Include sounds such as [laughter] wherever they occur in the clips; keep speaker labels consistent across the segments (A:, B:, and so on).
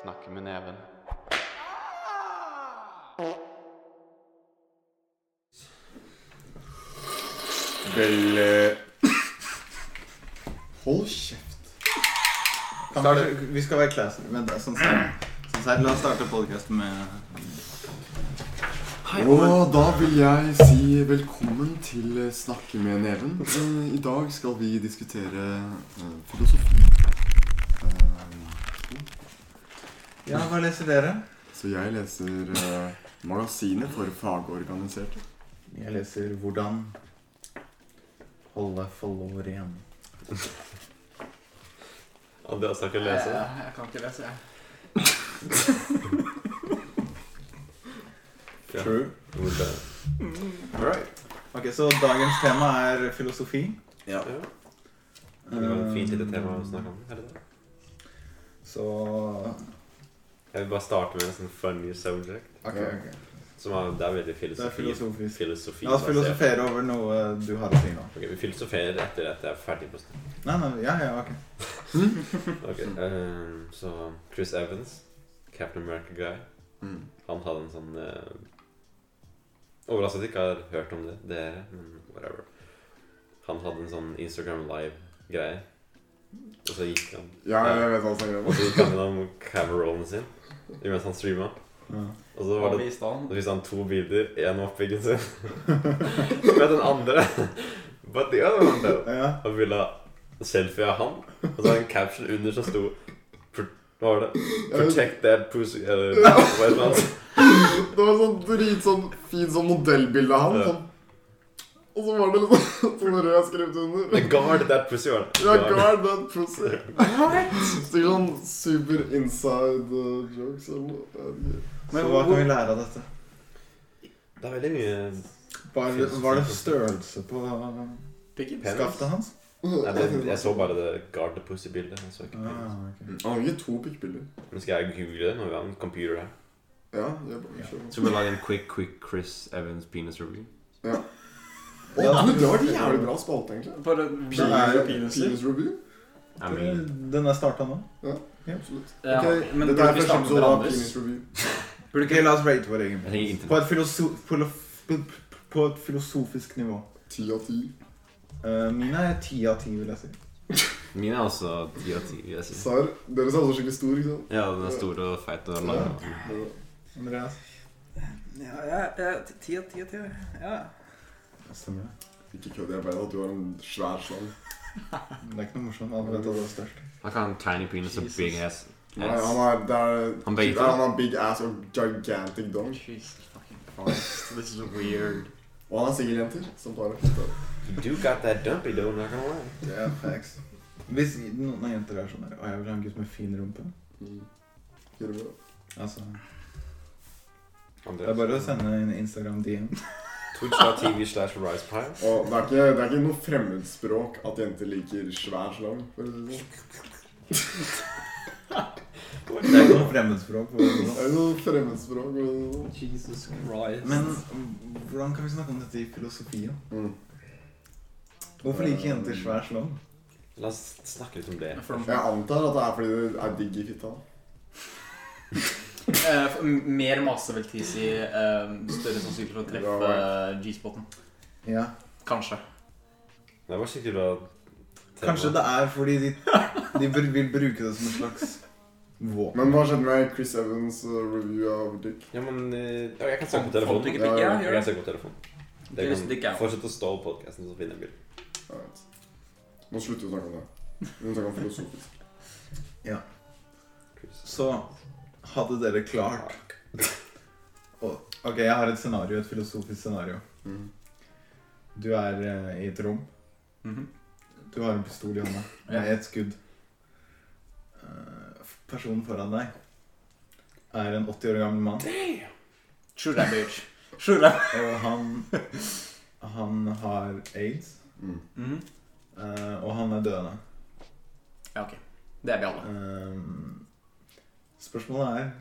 A: Snakke med neven.
B: Vel eh, Hold kjeft. Kan
C: Start-
B: vi, vi skal være classy. Vent, da. Sånn ser sånn ser- La oss starte podkasten med
D: Og da vil jeg si velkommen til eh, Snakke med neven. Eh, I dag skal vi diskutere eh, filosofi. Eh,
B: Ja, hva leser dere?
D: Så jeg leser eh, magasinet for fagorganiserte.
B: Jeg leser 'Hvordan holde follower igjen'.
A: Andreas har ikke lese det.
E: Jeg kan ikke lese, jeg.
A: Ja.
B: True.
A: Hvordan?
B: Ok, Så dagens tema er filosofi.
D: Ja.
A: Det var et fint lite tema å snakke om. er det det?
B: Så
A: Jeg vil bare starte med en sånn funny subject.
B: Ok, ok.
A: Som er, det er veldig
B: Det er
A: filosofi.
B: filosofisk.
A: filosofi
B: La oss filosofere over noe du har å si nå.
A: Ok, Vi filosoferer etter at jeg er ferdig på snakk.
B: Nei, nei, ja, ja, ok.
A: Ok, eh, så Chris Evans, Captain America-guy,
D: Mm.
A: han hadde en sånn uh, Overraskende at jeg ikke har hørt om det, dere, men whatever. Han hadde en sånn Instagram Live-greie. Og så gikk han
D: Ja, jeg vet hva du snakker
A: Og
D: om.
A: så gikk han gjennom camera-rollen sin mens han streama.
B: Ja.
A: Og så
E: Hva
A: var det
E: viste han?
A: så viste han to bilder, én av oppviggen sin [laughs] og den andre. But the other one, though.
B: Ja.
A: Han ville ha selfie av han, og så var det en caption under som sto pr- Hva var det? Protect that pussy Eller [laughs] hva heter det?
D: Det var sånn drit sånn fint sånn modellbilde av han.
A: Ja.
D: Sånn. Og [laughs] så var det litt sånn sånn rød skrevet under.
A: Guard that pussy, var det.
D: Ja, guard that pussy. Sikkert sånn super inside eh, jokes eller noe. Jeg vet ikke.
B: Men hva kan vi lære av dette?
A: Det er veldig mye
B: Var, var det størrelse på
E: Pikken.
A: Penis.
B: skaftet hans?
D: Mm.
A: Nei, men Jeg så bare det guard the pussy-bildet. Jeg så ikke penis. Mm.
B: Ah, ok.
D: Han har ikke to pikkbilder.
A: Nå skal jeg google det når vi har en computer her.
D: Ja, jeg bare kjører.
A: Så vi lager en quick, quick Chris Evans penis review.
D: Å, du, det var en jævlig bra spalte, egentlig.
E: Bare
B: Nei,
E: peniser.
D: Penis review.
A: I mean,
B: Den er starta nå.
D: Absolutt.
E: Ja,
D: Ok,
E: men
D: Dette
E: burde
D: er
E: vi
D: første
E: starte med
D: episode av
E: Anders?
D: Penis review.
B: Burde ikke la oss rate vår egen
A: jeg tenker
B: pris.
A: internett.
B: På et, filoso filof- p- p- på et filosofisk nivå.
D: Ti av ti.
B: Eh, mine er ti av ti, vil jeg si.
A: Min er også 10 av 10. vil Jeg sier.
D: Sar, deres er også skikkelig stor, ikke sant?
A: Ja, den er stor og feit og lang.
D: Ja.
B: Andreas?
E: Ja, ja, ja, ti av ti av ti. Ja.
B: Stemmer det.
D: Ikke kødd, jeg vet at du har en svær slang.
B: Det er ikke noe morsomt. Alle vet at det er størst.
A: Han kan ha en tiny penis og
E: Jesus.
A: big ass.
D: Nei, han har, det er,
A: Han begge to.
D: han har big ass og gigantic dong.
E: Jesus fucking Christ, this is weird.
D: Og han er singeljenter som bare putter.
A: You do got that dumpy though, I'm not gonna lie.
B: Det er facts. Hvis noen av jenter er sånn der, og jeg vil ha en gutt med fin rumpe
D: Mm. Gjør det bra.
B: Altså, Det
A: Andreas.
B: er bare å sende en Instagram DM.
A: Twitch.tv slash ricepie.
D: Og det er, ikke, det er ikke noe fremmedspråk at jenter liker svær slang. For å si det. sånn.
B: Det er ikke noe fremmedspråk. for å si det
D: Det
B: sånn.
D: er ikke noe fremmedspråk. for å si det sånn.
E: Jesus Christ.
B: Men hvordan kan vi snakke om dette i filosofien?
D: Mm.
B: Hvorfor liker jenter svær slang?
A: La oss snakke litt om det.
E: For,
D: Jeg antar at det er fordi det er digg i fitta.
E: eh, for, mer masse vil tilsi eh, større sannsynlig for å treffe eh, G-spoten.
B: Ja.
E: Kanskje.
A: Det var skikkelig bra. tema.
B: Kanskje det er fordi de, de br- vil bruke det som en slags våpen.
D: Men hva skjedde med Chris Evans' uh, review av Dick?
A: Ja, men eh, ja, Jeg kan
E: Sånn,
A: snakke på
E: folk
A: telefonen.
E: drikker pikk. Ja,
A: Jeg
E: gjør
A: kan
E: det.
A: snakke på telefonen.
E: Det
A: Det
E: visste ikke
A: kan
E: jeg.
A: fortsette å stå på podcasten, så finner jeg bildet.
D: Jeg vet. Nå slutter vi å snakke om det. Vi må snakke om filosofisk.
A: Chris.
B: Så hadde dere klart å- Ok, jeg har et scenario, et filosofisk scenario.
D: Mm.
B: Du er eh, i et rom.
E: Mhm.
B: Du har en pistol i hånda.
E: Ja.
B: Med et skudd. Eh, Personen foran deg er en 80 år gammel mann.
E: Sure, that bitch. Sure, that.
B: Og han Han har aids.
D: Mm.
E: Mhm.
B: eh, Og han er døende.
E: Ja, ok. Det er vi alle.
B: Ehm, Spørsmålet er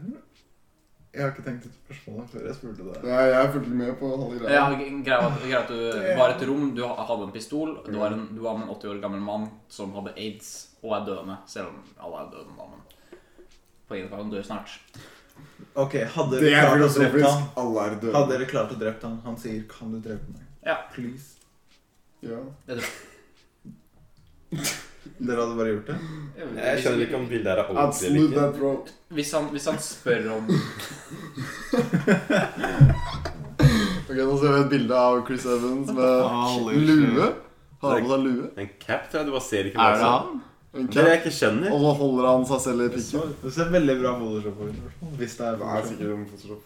B: Jeg har ikke tenkt ut spørsmålet før jeg spurte deg.
D: Jeg, jeg fulgte ikke med på halve greia.
E: Ja, greia var at, greia var at du var i et rom, du ha- hadde en pistol, du var, en, du var med en 80 år gammel mann som hadde aids og er døende, selv om alle er døende da, men på ingen fall. Han dør snart.
B: Ok, hadde
D: Det
B: dere
D: er
B: klart å drept han?
D: filosofisk. Alle er døde.
B: Hadde dere klart å drept han? Han sier 'Kan du drepe meg?'
E: Ja.
B: Please.
D: Ja.
B: Dere hadde bare gjort det?
A: Jeg skjønner ikke om bildet her er
D: I'd
A: ordentlig
D: smooth
A: eller
D: that
A: ikke.
D: throat.
E: Hvis han, hvis han spør om
D: Ok, Nå ser vi et bilde av Chris Evans med
B: Holy
D: lue. Har han på seg lue?
A: En cap tror jeg du bare ser ikke
D: Er det
A: som-
D: han? En
A: Det er det
D: cap.
A: jeg ikke skjønner.
D: Og så holder han seg selv i pikken.
B: Det ser veldig bra Photoshop ut. i hvert fall, Hvis det er
D: Det er
B: Photoshop.
D: sikkert en Photoshop.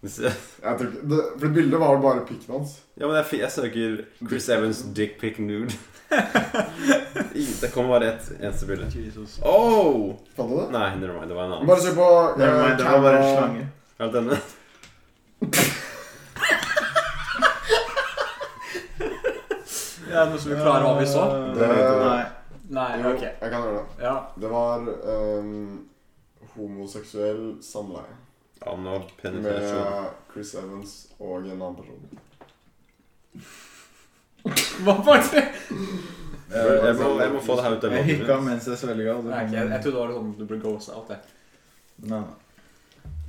A: Hvis-
D: Jeg tror ikke, det, for bildet var vel bare pikken hans.
A: Ja, men jeg, fi- jeg søker Chris Evans dick
E: [laughs]
A: pic nude. I- det kommer bare ett eneste bilde.
B: Jesus.
A: Oh!
D: Fant du det?
A: Nei, never mind. Det var en annen.
D: Bare se på eh,
B: Never mind, det var bare en
D: camera-
B: slange.
A: Er det denne?
E: Ja, noe som vi klarer hva vi så?
D: Det vet jeg.
B: Eh, Nei.
E: Nei,
D: Jo,
E: ok.
D: jeg kan gjøre det.
E: Ja.
D: Det var ehm, homoseksuell samleie
A: Ja, nå
D: med
A: penetrasjon.
D: Chris Evans og en annen person.
E: Hva var det?
A: Jeg, jeg, må, jeg må få det her ut av
B: Jeg hikka
A: munnen.
B: mens jeg svelga. og så
E: Nei,
B: kom-
E: ok, jeg, jeg trodde det var sånn du ble ghosta out. jeg.
B: Nei, nei.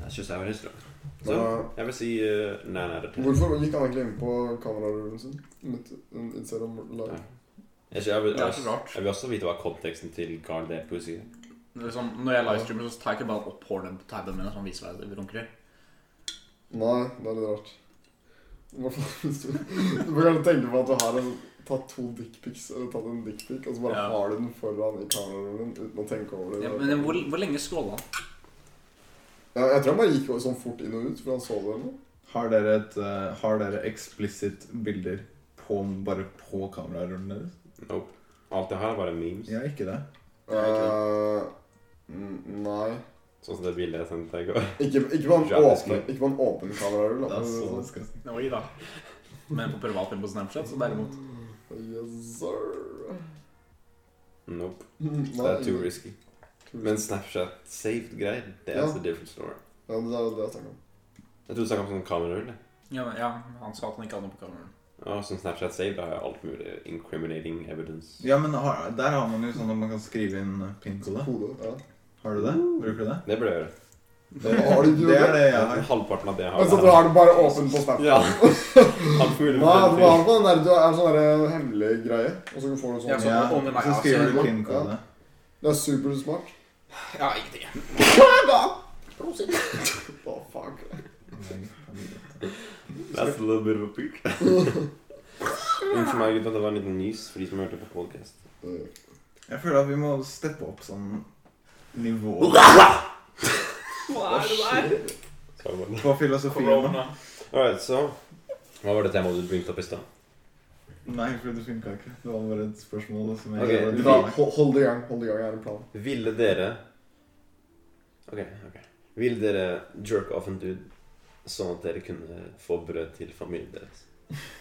A: Jeg syns jeg var litt strøm. Så
D: Da-
A: jeg vil si uh, nei, nei, det er det.
D: Hvorfor gikk han egentlig inn på kamerarullen sin? Midt- um, Instagram live.
A: Jeg, jeg, vil,
E: Det er så
A: jeg,
E: rart.
A: jeg vil også vite hva konteksten til Garl Dead Pussy er.
E: Det er sånn, når jeg livestreamer, så tar jeg ikke bare opp pornoen på taben min og sånn viser meg det runker.
D: Nei, det er litt rart. [laughs] Hvorfor- Du må kanskje tenke på at du har en, tatt to dickpics eller tatt en dickpic, og så bare
E: Ja.
D: har du den foran i kamerarullen uten å tenke over det.
E: Ja, men hvor, hvor lenge scrolla han?
D: Ja, jeg tror han bare gikk sånn fort inn og ut, for han så det eller noe.
B: Har dere et eh, Har dere explicit bilder på, bare på kamerarullen deres?
A: Nope. Alt jeg har, er bare memes.
B: Jeg har ikke det.
D: Eh, mm, nei.
A: Sånn som det bildet jeg sendte deg i går.
D: Ikke, ikke, på en
A: Gratis
D: åpen, ikke på en åpen kamerarull.
B: Det
D: da.
B: er så disgusting.
E: Oi da. Men på privatfilm på Snapchat, så derimot.
D: Yes, sir.
A: Nope. Det
D: Nei,
A: er too risky. Men Snapchat saved greier, det er
D: Ja.
A: altså a different story.
D: Ja, det er jo det jeg snakker om.
A: Jeg trodde du snakket om sånn kamerarull. jeg.
E: Ja, men- ja, han sa at han ikke hadde noe på kameraet.
A: Ja, som Snapchat saved, da har jeg alt mulig incriminating evidence.
B: Ja, men har, der har man jo sånn at man kan skrive inn eh, pinkode.
D: Hodet, ja.
B: Har du det? Bruker du det?
A: Det burde jeg gjøre.
D: Det har du ikke
B: Det er
D: gjort.
B: det jeg har.
A: Halvparten av det jeg har
D: Altså, du har det bare åpen på Snap.
A: [laughs] Ja. Alt mulig.
D: Nei, du har på den der, du er sånn der hemmelig greie, og så får du
E: Ja,
D: sånn.
E: så-
B: Ja,
E: under meg,
B: så
E: ja,
B: skriver du
D: så-
B: pinkode.
D: Det er supersmart.
E: Ja, ingenting.
D: Å, fuck.
A: That's a little bit of a peak.
B: [laughs]
A: Unnskyld meg, gutta. Det var en liten nys for de som hørte på podcast.
D: Eh,
B: Jeg føler at vi må steppe opp sånn nivå
E: Hva er det der?
A: Sorry, man.
B: på filosofien. da.
A: Alright, så Hva var det temaet du bringte opp i stad?
B: Nei, for det funka ikke. Det var bare et spørsmål som jeg
A: Ok,
B: ikke
D: Da,
B: hadde planlagt.
D: ho- hold det i gang. Hold det i gang, jeg har en plan.
A: Ville dere Ok, ok. Ville dere jerk off en dude sånn at dere kunne få brød til familien deres?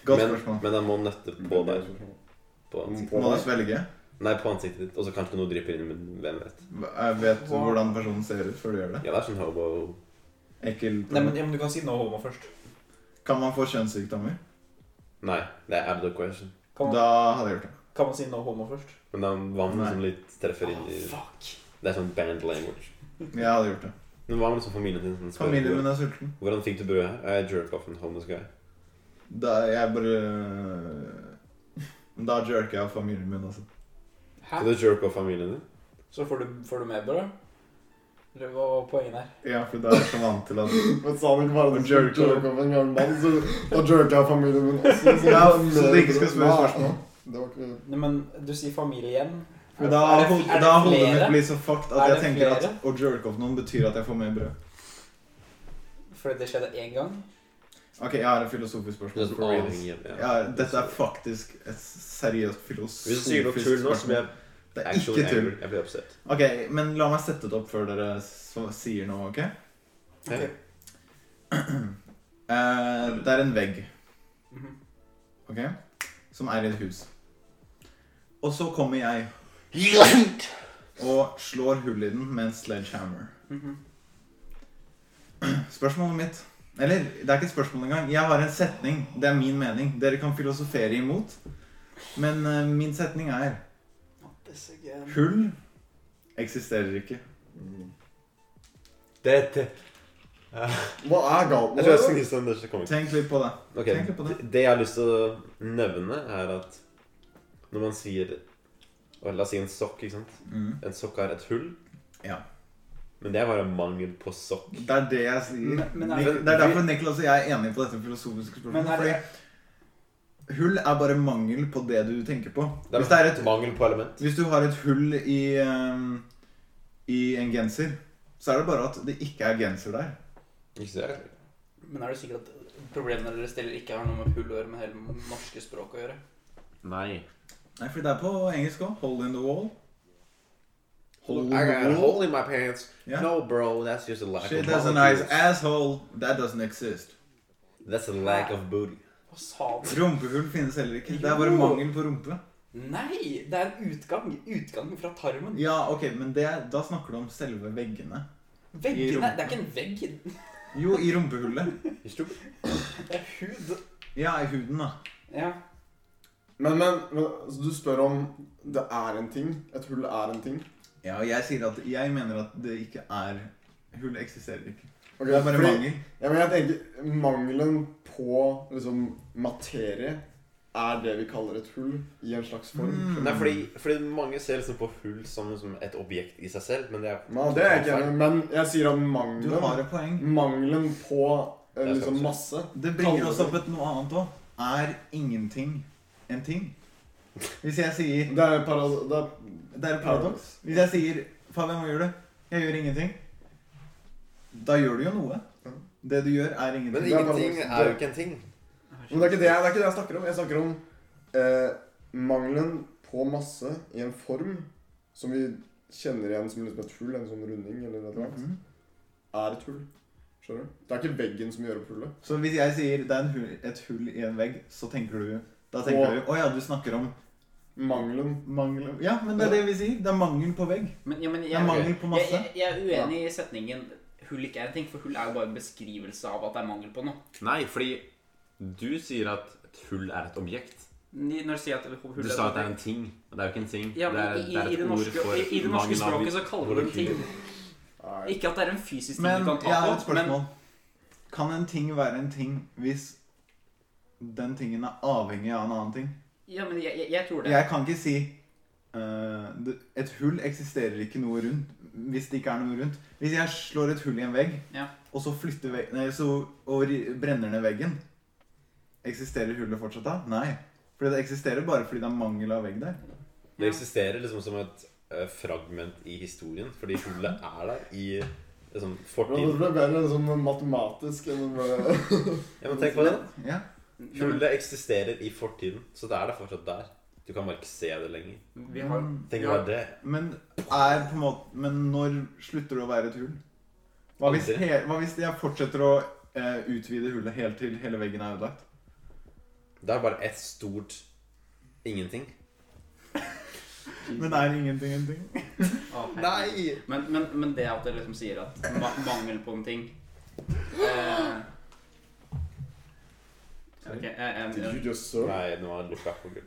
B: Godt
A: men,
B: spørsmål. Mm.
A: men han må nøtte på deg. På ansiktet.
B: Må du svelge?
A: Nei, på ansiktet ditt. Og så kanskje noe drypper inn i munnen. Hvem vet.
B: Jeg vet du hvordan personen ser ut før du gjør det.
A: Ja, det er sånn hobo
B: Ekkel
E: Nei, men, ja, men du kan si no homo først.
B: Kan man få kjønnssykdommer?
A: Nei, det er out of the question.
E: Kan,
B: Da hadde jeg gjort det.
E: kan man si no homo først?
A: Men det er vann
B: Nei.
A: som litt treffer inn i
E: fuck.
A: Det er sånn band language.
B: Jeg hadde gjort det.
A: Men hva med liksom familien din? Sånn, spør,
B: Familien
A: hvor-
B: min er sulten.
A: Hvordan fikk du brødet? Jeg jerk off en homeless guy.
B: Da jeg bare eh, [laughs] Da jerker jeg av familien min, altså.
A: Så
E: Hæ?
A: du jerk off familien din?
E: Så får du, får du med brød? Eller hva var poenget der?
B: Ja, for da er jeg så vant til at
D: Men sa han ikke bare at du
B: Jerk
D: skulle jerk off en gammel mann, så da jerker jeg familien min også.
B: Ja, så du ikke skal spørre
D: Nei,
B: spørsmål.
D: Det var ikke...
E: Nei, men du sier familie igjen.
B: For da
E: Er det-
B: hod-
E: er det
B: da hodet
E: flere?
B: mitt blir så fucked at
E: Er
B: jeg
E: det
B: tenker
E: flere?
B: at å jerke off noen betyr at jeg får mer brød.
E: Fordi det skjedde én gang.
B: Ok, jeg har et filosofisk
A: Det er
B: spørsmål.
A: sånn
B: for reals.
A: avhengig av
B: Jeg har- dette er faktisk et seriøst
A: Hvis
B: filosofisk
A: du sier noe tull nå, så blir jeg
B: Det er
A: actually
B: ikke tull.
A: angry. Jeg blir upset.
B: Ok, men la meg sette det opp før dere så, sier noe, ok?
A: Ok.
B: [clears throat] Eh, det er en vegg,
E: Mhm.
B: ok? Som er i et hus. Og så kommer jeg og slår hull i den med en sledgehammer.
E: Mhm.
B: Spørsmålet mitt Eller, det er ikke et spørsmål engang. Jeg har en setning. Det er min mening. Dere kan filosofere imot. Men eh, min setning er Hull eksisterer ikke.
D: Mm.
A: Det er et Eh,
D: Hva er galt
A: Jeg tror jeg skal knise den. Det kommer ikke.
B: Tenk litt på det.
A: Ok,
B: Tenk litt på det.
A: Det jeg har lyst til å nevne, er at når man sier å, La oss si en sokk. ikke sant?
B: Mm.
A: En sokk er et hull,
B: Ja.
A: men det er bare mangel på sokk.
B: Det er det jeg sier.
E: Men- men er
B: Nik-
A: det-
B: det er derfor Niklas og jeg er enige på dette filosofiske spørsmålet.
E: Men er det-
B: Fordi hull er bare mangel på det du tenker på.
A: Det er,
B: Hvis, det er et,
A: mangel på element.
B: hvis du har et hull i, ehm, i en genser, så er det bare at det ikke er genser der.
A: Ikke så jeg.
E: Men er du sikker at problemene dere stiller, ikke har noe med hull å gjøre, men hele det norske språket å gjøre?
A: Nei.
B: Nei, fordi det er på engelsk òg. Hole in the wall.
A: I got a hole in my pants.
B: Yeah.
A: No, bro, that's just a lack
B: Shit,
A: of
B: that's a
A: molecules.
B: nice asshole. That doesn't exist.
A: That's a lack of booty.
E: Hva sa du?
B: Rumpehull finnes heller ikke. Det er bare
E: Jo.
B: mangel på rumpe.
E: Nei! Det er en utgang. Utgang fra tarmen.
B: Ja, ok, men det, da snakker du om selve veggene. I
E: Veggene
B: rumpa.
E: Det er ikke en vegg. Det
B: Jo, i rumpehullet.
A: I strupen.
E: er hud.
B: Ja, i huden, da.
E: Ja.
D: Men, men, men altså, du spør om det er en ting? Et hull er en ting?
B: Ja, og jeg sier at jeg mener at det ikke er Hull eksisterer ikke.
D: Ok,
B: Det er bare
D: fordi-
B: mangel.
D: Ja, men jeg tenker Mangelen på liksom, materie er det vi kaller et hull i en slags form.
B: Mm.
A: Nei, fordi, fordi mange ser liksom på hull som, som et objekt i seg selv, men det er
D: Nei, det er jeg ikke enig i, men jeg sier at
B: Du har
D: mangelen,
B: et poeng.
D: mangelen på eh,
A: Jeg skal
D: liksom,
A: si.
D: masse
B: Det bringer oss opp et noe annet òg. Er ingenting en ting? Hvis jeg sier
D: Det er para... Det er,
B: Det er et paradoks. Hvis jeg sier 'Fabian, hva gjør du?' 'Jeg gjør ingenting'. Da gjør du jo noe. Det du gjør, er
A: Men
B: ingenting.
D: Det er bare-
A: ingenting er jo ikke en ting.
D: men det er, ikke det, jeg- det er ikke det jeg snakker om. Jeg snakker om eh, mangelen på masse i en form som vi kjenner igjen som liksom et hull, en sånn runding eller noe annet,
B: Mhm.
D: er et hull. Skjønner du? Det er ikke veggen som gjør opp hullet.
B: Så hvis jeg sier 'det er en hull, et hull i en vegg', så tenker du da tenker
D: Og-
B: du 'Å ja, du snakker om
D: Mangelen
B: mangel Ja, men det er det vi sier. Det er mangel på vegg.
E: Men, ja, men
B: Det er
E: jeg,
B: mangel på
E: jeg,
B: masse.
E: jeg, jeg er uenig i setningen 'hull ikke er en ting', for hull er jo bare en beskrivelse av at det er mangel på noe.
A: Nei, fordi du sier at et hull er et objekt.
E: Ni- Når du sier at hull
A: Du sa at det er en ting, og det er jo ikke en ting.
E: ja, men i,
A: det
E: i,
A: er,
E: i, det norske, i, I det norske språket så kaller vi det en ting.
D: er
E: Ikke at det er en fysisk ting du
B: Men
E: kan
B: jeg har et
E: ta på, men
B: spørsmål. Kan en ting være en ting hvis den tingen er avhengig av en annen ting?
E: Ja, men jeg, jeg, jeg tror det.
B: Jeg kan ikke si eh, det- Et hull eksisterer ikke noe rundt hvis det ikke er noe rundt. Hvis jeg slår et hull i en vegg,
E: Ja.
B: og så flytter vegg, nei, så, og ri- brenner ned veggen Eksisterer hullet fortsatt da? Nei. Fordi det eksisterer bare fordi det er mangel av vegg der.
A: Det eksisterer liksom som et eh, fragment i historien, fordi hullet er der i liksom,
D: Men det
A: fortiden.
D: ble bedre sånn matematisk enn bare [laughs]
A: Ja, men tenk på det.
B: Ja.
A: Hullet eksisterer i fortiden, så det er der fortsatt der. Du kan bare ikke se det lenger.
E: Vi har
B: Mm.
A: Tenk
E: Ja.
A: bare det.
B: Men er på en måte Men når slutter det å være et hull? Hva hvis,
A: Aldri.
B: he, hva hvis jeg fortsetter å eh, utvide hullet helt til hele veggen er ødelagt?
A: Det er bare et stort ingenting.
B: Men det er ingenting en ting?
E: Å, herregud. Men, men, men det at det liksom sier at ma mangel på en ting eh, Ok, jeg, jeg,
D: Did you
E: jeg,
D: just serve?
A: Nei, nå har jeg lukka på gull.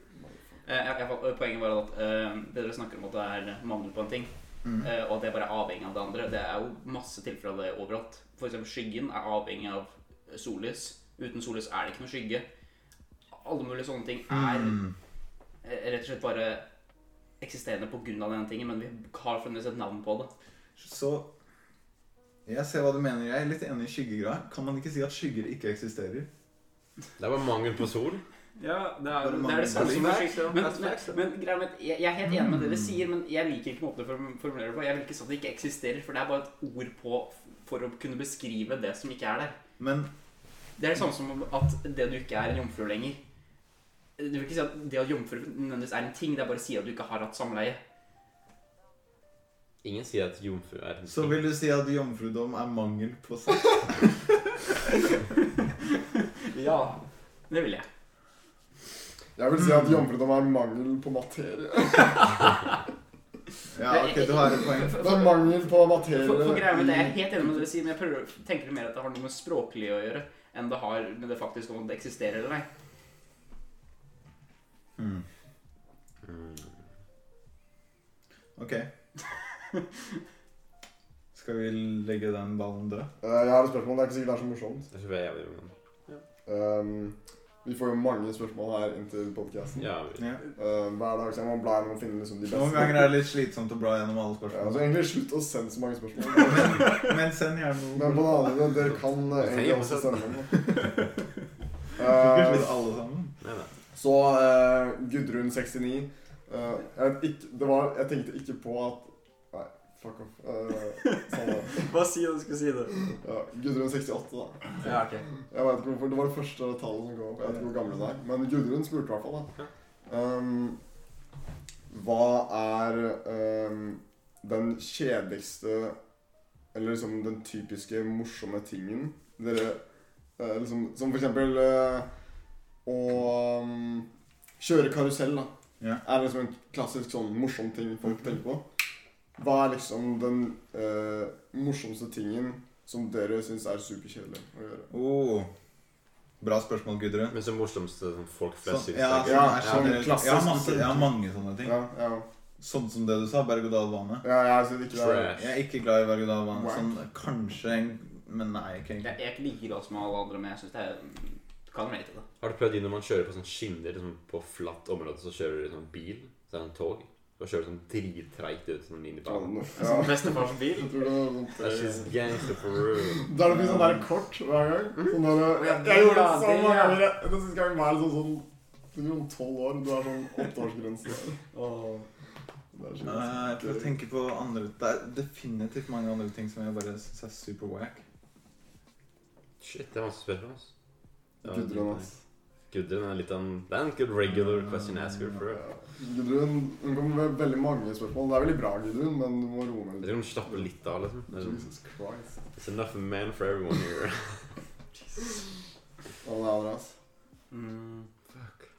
E: Eh, jeg, jeg, Poenget var at eh, det dere snakker om at det er mangel på en ting,
B: Mm.
E: eh, og at det er bare avhengig av det andre, det er jo masse tilfeller av det overalt. For eksempel skyggen er avhengig av sollys. Uten sollys er det ikke noe skygge. Alle mulige sånne ting er
B: Mm.
E: eh, rett og slett bare eksisterende på grunn av denne tingen, men vi har fremdeles et navn på det.
B: Så Jeg ser hva du mener. Jeg er litt enig i skyggegreia. Kan man ikke si at skygger ikke eksisterer?
A: Det er bare mangel på sol.
E: Ja, det
B: Bare
E: er det, er
B: mangler
E: det samme som
B: det.
E: skygg. Men, men, men greia med at jeg, jeg er helt enig med det dere
B: Mm.
E: sier, men jeg liker ikke måten å formulere det på. Jeg vil ikke si at det ikke eksisterer, for det er bare et ord på for å kunne beskrive det som ikke er der.
B: Men
E: Det er det samme som at det du ikke er en jomfru lenger. Du vil ikke si at det at jomfru nødvendigvis er en ting, det er bare å si at du ikke har hatt samleie.
A: Ingen sier at jomfru er en
B: så
A: ting.
B: vil du si at jomfrudom er mangel på sex?
E: Ja. Det vil jeg.
D: Jeg vil si at jomfrudom er mangel på materie. Eh,
B: Ja, ok, du har et poeng.
D: Det er mangel på materie
E: For, for greia med det, Jeg er
D: i-
E: helt enig med det du sier, men jeg prøver, å- tenker mer at det har noe med språklig å gjøre enn det har med det faktiske om det eksisterer eller nei.
B: Mm.
A: Mm.
B: Ok. [laughs] Skal vi legge den ballen død?
D: Eh, jeg har et spørsmål. Det er ikke sikkert det er så morsomt.
A: Jeg synes det er jævlig men
D: Ehm, vi får jo mange spørsmål her inntil podkasten.
A: ja, vi-
B: Ja.
D: hver dag så man blar om å finne liksom de beste.
B: Noen ganger er det litt slitsomt å bla gjennom alle
D: Ja, altså
B: spørsmål.
D: Egentlig slutt å sende så mange spørsmål.
B: [laughs] Men send gjerne
D: Men på den
B: noen.
D: andre siden, dere kan eh, egentlig
A: Hei,
D: også
A: Jonsen.
D: sende dem. da.
B: Ikke
D: Eh,
B: slutt alle sammen.
A: Nei, nei.
D: så eh, Gudrun 69 eh, jeg, vet ikke, det var, jeg tenkte ikke på at Nei, fuck off. Eh, samme.
E: Bare si at du skal si det.
D: ja, Gudrun 68, da.
E: Ja, ok.
D: Jeg vet ikke hvorfor, Det var det første tallet som kom opp. Jeg vet ikke hvor gammel hun er. Men Gudrun spurte i hvert fall, da. Ehm, hva er ehm, den kjedeligste Eller liksom den typiske morsomme tingen dere eh, liksom, Som for eksempel eh, å ehm, kjøre karusell, da.
B: Ja.
D: Er liksom en klassisk sånn morsom ting folk tenker på. Hva er liksom den eh, morsomste tingen som dere syns er superkjedelig å gjøre?
B: Oh. Bra spørsmål, Gudrun.
A: Men så morsomste som folk
B: Sånn,
A: flest synes
B: ja,
A: det er gøy.
B: sånn er
D: Ja,
B: generelt.
D: klassisk.
B: Jeg har, masse, jeg har mange sånne ting.
D: Ja, ja.
B: Sånn som det du sa, berg-og-dal-bane.
D: ja jeg syns ikke det er
A: Trash.
B: Jeg er ikke glad i berg-og-dal-bane.
D: Wow.
B: Sånn kanskje en Men nei, ikke
E: Jeg
B: egentlig.
E: jeg er ikke like glad som alle andre, men jeg synes det er Du kan relate til det.
A: Har du prøvd de når man kjører på sånn skinner liksom på flatt område, så kjører du liksom bil, så er det en tog, og kjører sånn drittreigt ut sånn inn i
D: Ja,
A: banen.
D: ja.
E: Bestefars bil.
D: Jeg tror det var sånn
A: That's
D: tre-
A: just gangster for real.
D: Da er det blitt sånn der kort hver gang. Sånn der,
E: Å, Mhm. ja,
D: jeg, jeg gjorde
E: det,
D: det så
E: det,
D: mange
E: ja.
D: ganger. Jeg- Den siste gangen var det sånn sånn Du er sånn tolv år, du er sånn åtteårsgrense. Åh, Det er så
B: Nei, Eh, jeg prøver å tenke på andre Det er definitivt mange andre ting som jeg bare syns er super wack.
A: Shit, det er vanskelig å spørre om, ass. Ja,
D: Gudrun, ass.
A: Gudrun er litt av en Det er en good regular question asker for real.
D: Ja. Gudrun hun kommer med veldig mange spørsmål. Det er veldig bra, Gudrun, men du må roe
A: Jeg
D: ned.
A: tror hun slapper litt av, liksom. Det er sånn,
D: Jesus Christ.
A: It's enough man for everyone here. [laughs]
D: Ja, det er det, ass.
E: Mm. Fuck.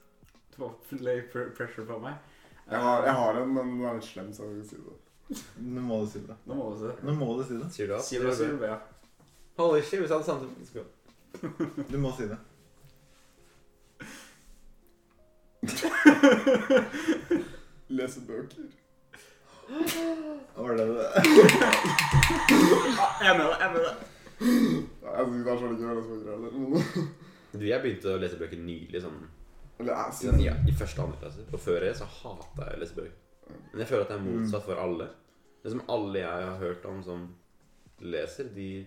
E: Det var lay pressure på meg.
D: Jeg har, jeg har en, men den er litt slem, så jeg vil ikke si det.
B: Nå må du si det.
E: Nå må du si det.
B: Nå må du si det.
A: Sier du alt?
E: Si det, si det, ja.
A: Holy shit, vi sa det samtidig. Let's go.
B: Du må si det.
D: Lese bøker.
B: Var det det?
E: Ah, Jeg er med deg, jeg er med deg.
D: Ja, Jeg syns ikke det er så veldig gøy å lese bøker heller. men-
A: Du, jeg begynte å lese bøker nylig, sånn
D: [laughs] Eller eh, jeg
A: i, den,
D: syns
A: ja, i første og andre klasse. Og før det så hata jeg å lese bøker. Men jeg føler at det er motsatt for alle. Det er som alle jeg har hørt om som leser, de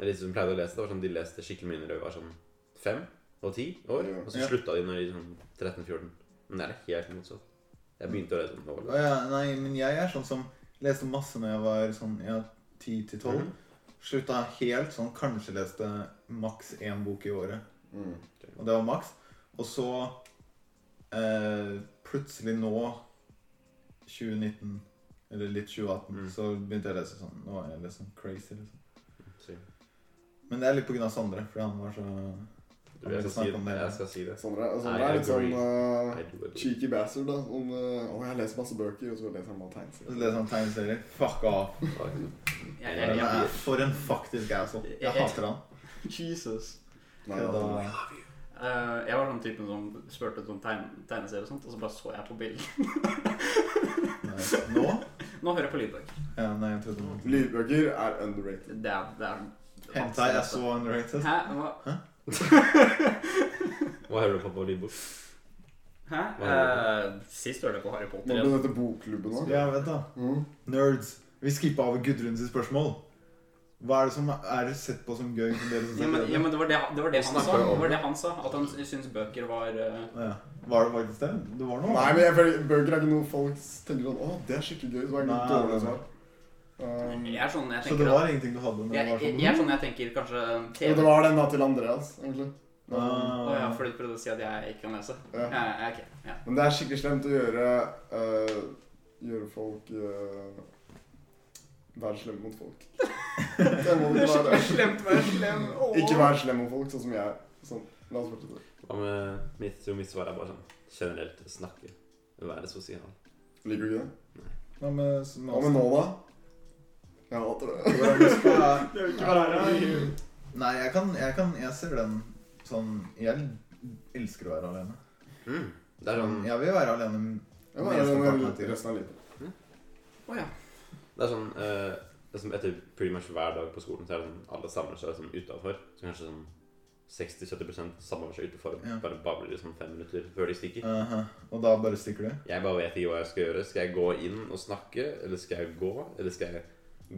A: Eller de som pleide å lese, det var sånn de leste skikkelig mye når de var sånn fem og ti år. Og så
B: Ja.
A: slutta de når de sånn 13-14. Men det er helt motsatt. Jeg begynte å lese sånn da jeg var
B: Å ja, nei, men jeg er sånn som leste masse når jeg var sånn ja, 10 til 12.
A: Mhm.
B: Slutta helt sånn Kanskje leste maks én bok i året.
D: Mm.
B: Og det var maks. Og så eh, plutselig nå, 2019, eller litt 2018,
A: Mm.
B: så begynte jeg å lese sånn. Nå er jeg litt sånn crazy, liksom.
A: Så-
B: Men det er litt på grunn av Sondre, fordi han var så
A: Du, jeg, skal si det. jeg skal si det.
D: Sondre Sondre
A: Nei,
D: er
A: jeg
D: litt
A: går
D: sånn eh,
A: I do, I do.
D: cheeky bastard, da. Sånn eh, 'Å, jeg leser masse bøker', og så leser han bare
B: så
D: tegneserier.
B: leser han tegneserier. Fuck off.
E: Jeg, jeg,
B: Han
E: jeg,
B: er for en faktisk asshole. Jeg hater han.
E: Jesus.
D: Nei,
B: Ja, da-
D: da-
E: Eh, jeg var den typen som spurte om tegne, tegneserie og sånt, og så bare så jeg på bildet.
B: Nei. Nå?
E: Nå hører jeg på lydbøker.
B: Ja, nei, jeg trodde han
D: Lydbøker er underrated.
E: Det er, det er
B: Hentai er så underrated.
E: Hæ? Hva?
A: Hva hører du på på lydbok?
E: Hæ?
A: Hva?
E: Eh, sist hørte jeg på Harry Potter.
D: Nå ble
E: igjen.
D: dette bokklubben òg.
B: Ja, vet da.
D: Mm.
B: Nerds. Vi skippa over Gudruns spørsmål. Hva er det som er sett på som gøy? Som dere synes
E: Ja,
B: er
E: men, ja,
B: kjedelig?
E: men det var det, han- det, var det han
A: Snakker
E: sa.
A: om
E: Det var
A: det.
E: det han sa, At han syntes bøker var eh,
B: Å ja. Var det faktisk det? Det var noe?
D: Nei, men jeg føler bøker er ikke noe folk tenker sånn 'Å, det er skikkelig gøy'. Så er det
B: Nei,
D: ikke dårlig
B: nei, nei.
D: svar. Um,
E: Jeg er sånn jeg
B: Så
E: tenker
B: det
E: at-
B: var ingenting du hadde? Men det
E: jeg,
B: var
E: jeg,
B: sånn
E: jeg er sånn jeg tenker kanskje
D: jo,
E: TV.
D: det var den da til Andreas, egentlig. Um,
E: Å ja,
B: Ah.
E: fordi du prøvde å si at jeg ikke kan lese.
D: ja.
E: Ja, ja, ok, ja.
D: Men det er skikkelig slemt å gjøre eh, Gjøre folk eh, Være slem mot folk. [laughs] Det må du ikke være.
E: slemt å være slem.
D: Ikke vær slem mot folk, sånn som jeg. er. Sånn, la oss fortsette.
A: Hva med mitt, jo, mitt svar er bare sånn generelt snakke. Være sosial.
D: Liker du ikke det?
B: Hva med
D: Hva med nå,
B: [laughs]
D: da? Jeg hater det.
E: Det vil ikke være her.
B: Nei, jeg kan, jeg kan Jeg ser den sånn Jeg elsker å være alene.
A: Mm. Det er sånn,
B: Jeg vil være alene.
D: Jeg bare,
B: Mest av
D: jeg,
B: partneren til.
D: resten av livet.
E: Å ja.
A: det er sånn eh, liksom etter pretty much hver dag på skolen så er det sånn alle samler seg liksom utafor. Så kanskje sånn 60-70 samler seg utenfor og
B: Ja.
A: bare babler i sånn fem minutter før de stikker.
B: Aha. Og da bare stikker du?
A: Jeg bare vet ikke hva jeg skal gjøre. Skal jeg gå inn og snakke, eller skal jeg gå? Eller skal jeg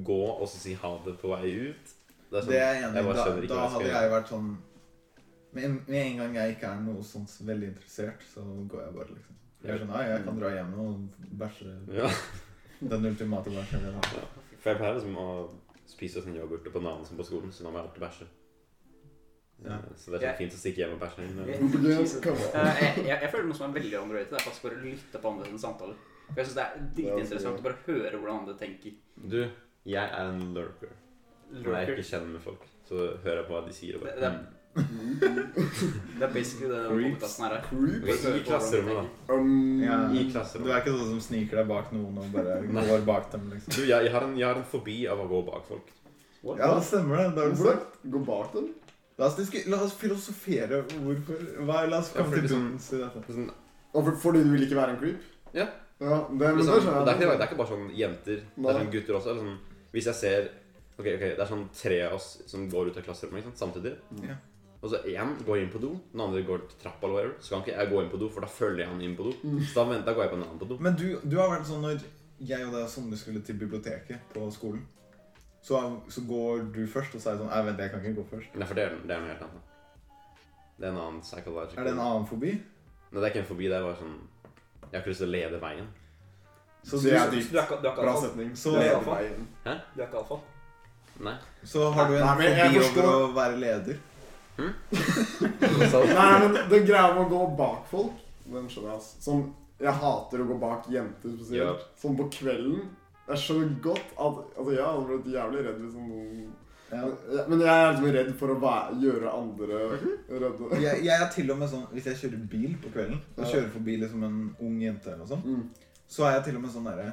A: gå og så si ha det på vei ut? Det sånn,
B: Det er jeg enig
A: jeg
B: i.
A: bare
B: Da,
A: skjønner ikke
B: da
A: hva jeg skal
B: hadde
A: gjøre.
B: jeg vært sånn med en, med en gang jeg ikke er noe sånt veldig interessert, så går jeg bare, liksom. Jeg er sånn, «Nei, jeg kan dra hjem og bæsje
A: Ja,
B: den ultimate bæsjen min. da».
A: for jeg pleier liksom å spise sånn yoghurt og bananer som på skolen, så da må jeg alltid bæsje.
B: Ja.
A: Så det er sånn fint å stikke hjem og bæsje. inn, men-
E: Jesus.
D: Jesus, come on.
E: Eh, jeg, jeg, jeg føler noe som er veldig underrated. Det er faktisk bare å lytte på andre sine samtaler. For jeg synes Det er dritinteressant å bare høre hvordan andre tenker.
A: Du, jeg er en lurker. Når jeg
E: Lurker.
A: ikke kjenner med folk, så hører jeg på hva de sier. og
E: Det,
A: bare
E: det, er-
D: Mm. [laughs]
E: det er basically det denne
B: Creeps.
E: podcasten her er.
A: Ok,
D: Creeps.
A: I klasserommet, da.
D: Um,
B: Ja.
A: "Mm, I
B: Du
A: klasserommet.
B: er ikke sånn som sniker deg bak noen og bare
A: [laughs] Nei.
B: går bak dem, liksom.
A: Du, jeg, jeg, har en, jeg har en fobi av å gå bak folk.
B: Ja, det stemmer det. Det har du
D: Hvorfor
B: sagt.
D: det? Gå bak dem?
B: La oss, disku- la oss filosofere hvorfor Hva, La oss
A: Ja,
B: komme
A: for
B: til
A: liksom-
B: bunns i dette.
A: Sånn,
D: Og for, fordi du vil ikke være en creep?
A: Ja.
D: ja det, men det
A: liksom,
D: skjønner
A: og det, er ikke,
D: jeg.
A: det er ikke bare sånn jenter. Det er
D: Nei.
A: sånn gutter også. Eller sånn, hvis jeg ser Ok, ok, Det er sånn tre av oss som går ut av klasserommet ikke sant, samtidig.
B: Ja.
A: Og så én går inn på do, den andre går til trappa, eller whatever. Så kan ikke jeg gå inn på do, for da følger jeg han inn på do. Så da, vent, da går jeg på en annen på do.
B: Men du, du har vært sånn når jeg og deg og Sondre skulle til biblioteket på skolen, så, så går du først, og så er jeg sånn Nei, vent, jeg kan ikke gå først.
A: Nei, for det er, det er noe helt annet. Det er en annen psychological
B: Er det en annen fobi?
A: Nei, det er ikke en fobi. Det er bare sånn Jeg har ikke lyst til å lede veien.
B: Så,
D: Det er
B: du,
D: dypt.
E: Du er ikke du er ikke
D: Bra
E: alfa.
D: setning.
B: Så-
D: Jeg er på veien.
E: Du er ikke alfa.
A: Nei.
B: så har du en
D: Nei, men jeg
B: fobi
D: forstår-
B: over å være leder.
A: Så,
D: Nei, men den greia med å gå bak folk, den skjønner jeg, ass. Som jeg hater å gå bak jenter spesielt. Sånn på kvelden. Jeg skjønner godt at Altså, jeg hadde blitt jævlig redd hvis noen
B: Ja.
D: Ja, Men jeg er liksom redd for å være, gjøre andre
B: Mhm.
D: redde.
B: Jeg, jeg er til og med sånn Hvis jeg kjører bil på kvelden, og kjører forbi liksom en ung jente eller noe sånt,
D: Mm.
B: så er jeg til og med sånn derre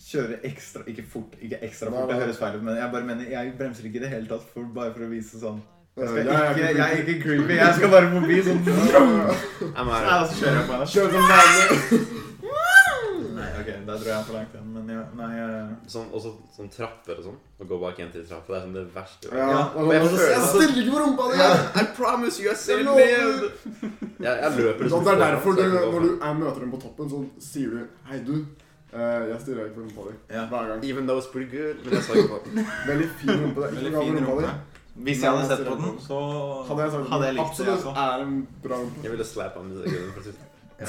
B: Kjøre ekstra Ikke fort, ikke
D: Nei,
B: ekstra fort, det
D: nei.
B: høres feil ut, men jeg bare mener Jeg bremser ikke i det hele tatt, for, bare for å vise sånn Jeg,
D: Eh, Jeg
B: skal
D: er
B: ikke,
D: ikke-
B: jeg er ikke creepy, jeg skal bare forbi sånn Nei,
A: jeg må være-
B: og så kjører jeg på henne.
D: Kjør som vanlig.
B: Nei, ok, da drar jeg for langt igjen, men jeg, nei jeg-
A: Sånn, også sånn trapper og sånn. Å gå bak jenter i trappa. Det er sånn det verste.
D: Ja,
B: Ja,
D: og
A: men jeg
D: så-
A: føler-
D: jeg styrker på rumpa di!
B: Ja.
A: I promise you, I
D: saved
A: Jeg, jeg løper liksom
D: Og Sånn, det er
A: foran,
D: derfor
A: så
D: du,
A: jeg kan gå
D: når du er møter dem på toppen, så sier du Hei, du. eh, jeg stirrer ikke på rumpa di.
B: Ja.
D: Hver gang.
A: foran. Even though it's pretty good, men jeg sa ikke på
D: Veldig fin rumpe. Det er ikke noe
B: Veldig
D: galt med
B: fin
D: rumpa di.
B: rumpe. Hvis jeg hadde sett på den, så
D: Hadde jeg sagt
B: hadde jeg likt det.
D: absolutt
B: Altså.
D: er en bra rumpe.
A: Jeg ville slappe ham i sekunden. for å si det.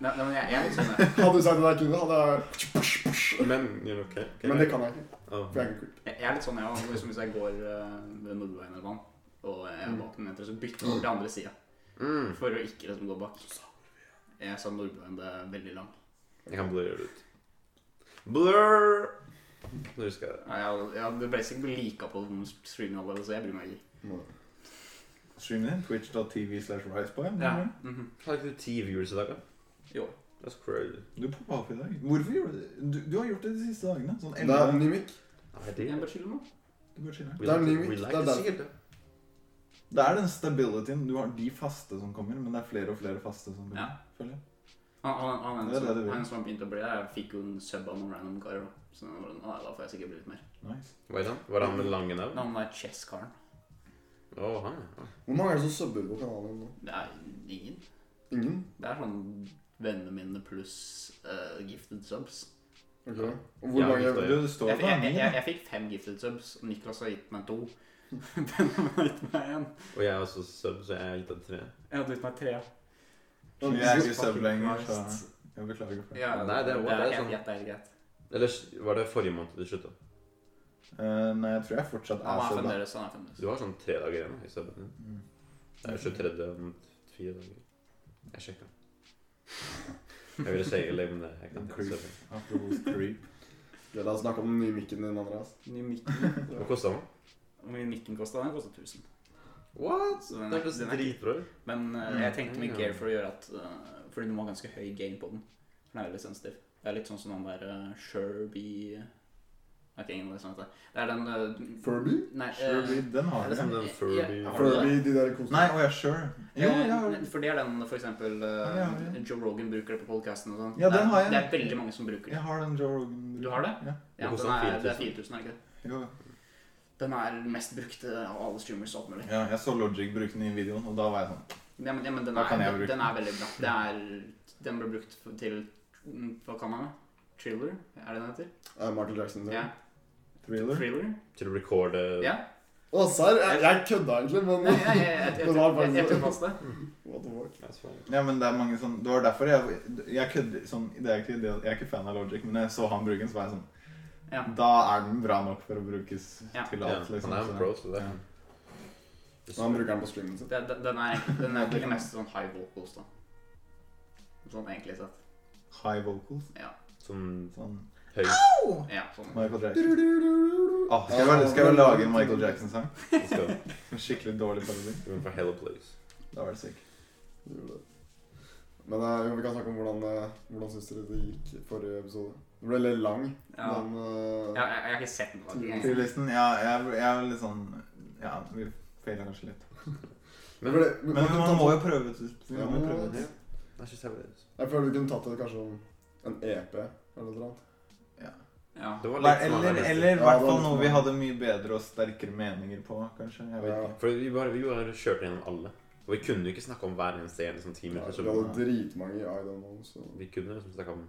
E: Nei, nei, men jeg, jeg er litt sånn jeg,
D: Hadde du sagt at jeg kunne, hadde jeg
A: Men you're okay. okay.
D: Men det kan jeg ikke.
A: Oh.
D: For jeg er ikke creep.
E: jeg er litt sånn, jeg også. Liksom hvis jeg går eh, ved Nordveien eller noe, og jeg er bak den jenter, så bytter jeg over til andre sida.
A: Mm.
E: For å ikke liksom gå bak. Jeg sa Nordveien, det er veldig lang.
A: Jeg kan blurre det ut. Blur! Nå husker jeg det.
E: Nei, Jeg, jeg hadde basically blitt lika på noen streaming allerede, så jeg bryr meg ikke.
B: Streamen din, twitch.tv slash riseboy.
E: Ja. mhm.
A: Har ikke du ti viewers i dag, da?
E: Jo.
A: That's crazy.
B: Du poppa opp i dag. Hvorfor gjorde du det? Du, du har gjort det de siste dagene. Sånn
D: Det er en
B: 11.
D: ny mic.
A: Nei,
E: Jeg
A: det
E: bare chiller nå.
B: Du bare chiller.
A: We
D: Det er
A: like
D: ny
A: to- we
D: mic.
A: like
D: Det er
A: to
D: den.
A: see it, da.
B: Det er den stabilityen. Du har de faste som kommer, men det er flere og flere faste som
E: Ja.
B: kommer. føler jeg.
E: Han, han, han,
B: Det er det du
E: han,
B: vil.
E: han som begynte å bli der, fikk jo en sub av noen random karer. da. Så da var det, «Nei, da får jeg sikkert bli litt mer.
B: Nice.
A: Hva er det? Var det han med lange navn?
E: Men han der chess-karen
A: Å, han, ja.
D: Hvor mange er det som subber på kanalen nå?
E: Det er ingen.
D: Ingen?
E: Det er sånn vennene mine pluss eh, gifted subs.
D: Ok.
A: Ja.
D: Og hvor
A: Ja,
D: mange
A: det
B: Du, det står
E: Jeg,
B: at det
E: jeg,
B: er
E: jeg,
B: ni,
E: jeg,
B: da.
E: jeg fikk fem gifted subs. og Niklas har gitt meg to. [laughs] Benjamin har gitt meg én.
A: Og jeg er også sub, så jeg har gitt deg tre.
E: Jeg hadde gitt meg tre.
B: Så Jeg er ikke sub lenger, så jeg beklager for det.
E: Ja,
A: Nei, det er- det er
E: helt-
A: sånn-
E: helt- helt greit.
A: Eller var det forrige måned du slutta?
B: Eh, nei, jeg tror jeg fortsatt
E: Han
B: er
E: er
B: sub. da.
E: fremdeles han er fremdeles.
A: Du har sånn tre dager igjen i subben din.
B: Mm.
A: Det er jo 23. om fire dager. Jeg sjekka. Jeg ville si det, men jeg kan ikke
B: Creep.
A: subbe.
B: Apropos creep.
D: Ja, La oss snakke om den nye micen din, Andreas.
E: Ny mikken.
A: [laughs] Hva kosta den?
E: Hvor mye mikken kosta? Den kosta 1000.
A: What?
E: Så den
A: Det
E: er-
A: hørtes
E: den er-
A: dritbra ut.
E: Men eh, jeg tenkte mye
A: Mm.
E: gear for å gjøre at eh, Fordi du må ha ganske høy gain på den. For den er veldig sensitiv. Det er litt sånn som den der eh, Sherby Ok, ingen av det som heter det. Det er den eh,
D: Furby?
E: Nei, eh,
B: Furby, Liksom den
E: det
B: har du.
E: er
A: Som
B: ja.
A: den
E: Ja.
A: Furby
E: Har du det?
D: Furby, de der kosene.
B: Nei, å ja, sure. Jo,
E: eh,
B: ja.
E: For det er den for eksempel eh,
B: Ja, ja, ja.
E: Joe Rogan bruker det på podcasten og sånn.
B: Ja,
E: Det er-
B: den har jeg.
E: Det er veldig mange som bruker det.
B: Jeg har den Joe Rogan.
E: Du har det?
B: Ja.
E: Ja,
A: Det
E: den
A: koster
E: er, det er
A: 4000.
E: 4000, er det ikke det?
B: Jo.
E: Den er den mest brukte av alle streamers og alt mulig.
B: ja, jeg så Logic bruke den i videoen, og da var jeg sånn
E: Ja, men, ja, men den,
B: Da
E: er,
B: kan jeg
E: den,
B: bruke
E: den er veldig bra. Det er, den ble brukt f- til mm, Hva kan man med? Thriller? Er det den heter?
D: Eh, Michael Jackson.
E: Ja.
D: Å,
B: Thriller?
E: Thriller?
B: [laughs]
A: til å recorde
E: Ja.
D: serr? Jeg, jeg kødda egentlig, men
E: Nei, jeg, jeg, jeg, jeg,
D: Det var bare
E: jeg, jeg tok fast det.
D: What the fuck?
A: That's fine.
B: Ja, men det er mange sånn Det var derfor jeg Jeg kødder sånn det er ikke, det, Jeg er ikke fan av Logic, men når jeg så han bruke den, så var jeg sånn
E: Ja.
B: Da er den bra nok for å brukes
E: Ja.
B: til
A: Ja,
B: alt, liksom.
A: han er en
B: så-
A: pro, så det
B: ja.
D: Så han bruker den på streamen sin.
E: Den, den, den er egentlig- den er egentlig mest sånn high vocals, da. Sånn egentlig sett.
B: High vocals.
E: Ja.
A: Sånn
B: Sånn
A: høy
E: ja sånn.
B: Michael Jackson. Ah, skal, jeg, bare- skal jeg bare lage en Michael
D: [laughs]
B: Jackson-sang?
A: skal
B: En Skikkelig dårlig parodi.
A: Men for Hello Place.
B: Da var det sykt.
D: Gjorde det. Men eh, jo, vi kan snakke om hvordan, eh, hvordan syns dere det gikk i forrige episode. Det ble litt lang,
E: Ja.
D: men eh,
E: Jeg, jeg, jeg har ikke sett den faktisk. engang.
B: Tyrlisten, ja, jeg, jeg er litt sånn Ja, vi feiler kanskje litt.
A: Men
D: ble- vi
B: Men
D: kunne
B: man
D: tatt-
B: må jo prøve. ut- Vi
D: Ja,
B: må jo prøve.
A: det.
D: men-
A: That's just how it is.
D: Jeg føler vi kunne tatt det kanskje om en EP eller noe annet.
E: Ja.
A: Det var
B: Eller,
A: litt sånn her neste.
B: eller i
D: Ja,
B: hvert
D: det var
B: fall
D: litt
B: noe vi
D: smart.
B: hadde mye bedre og sterkere meninger på, kanskje. Jeg vet
D: Ja.
B: ikke.
A: For vi bare, vi bare kjørte gjennom alle. Og vi kunne jo ikke snakke om hver eneste en i sånn
D: Vi
A: ti minutter. Så
D: hadde dritmange i I Don't Know, så
A: vi kunne liksom snakke om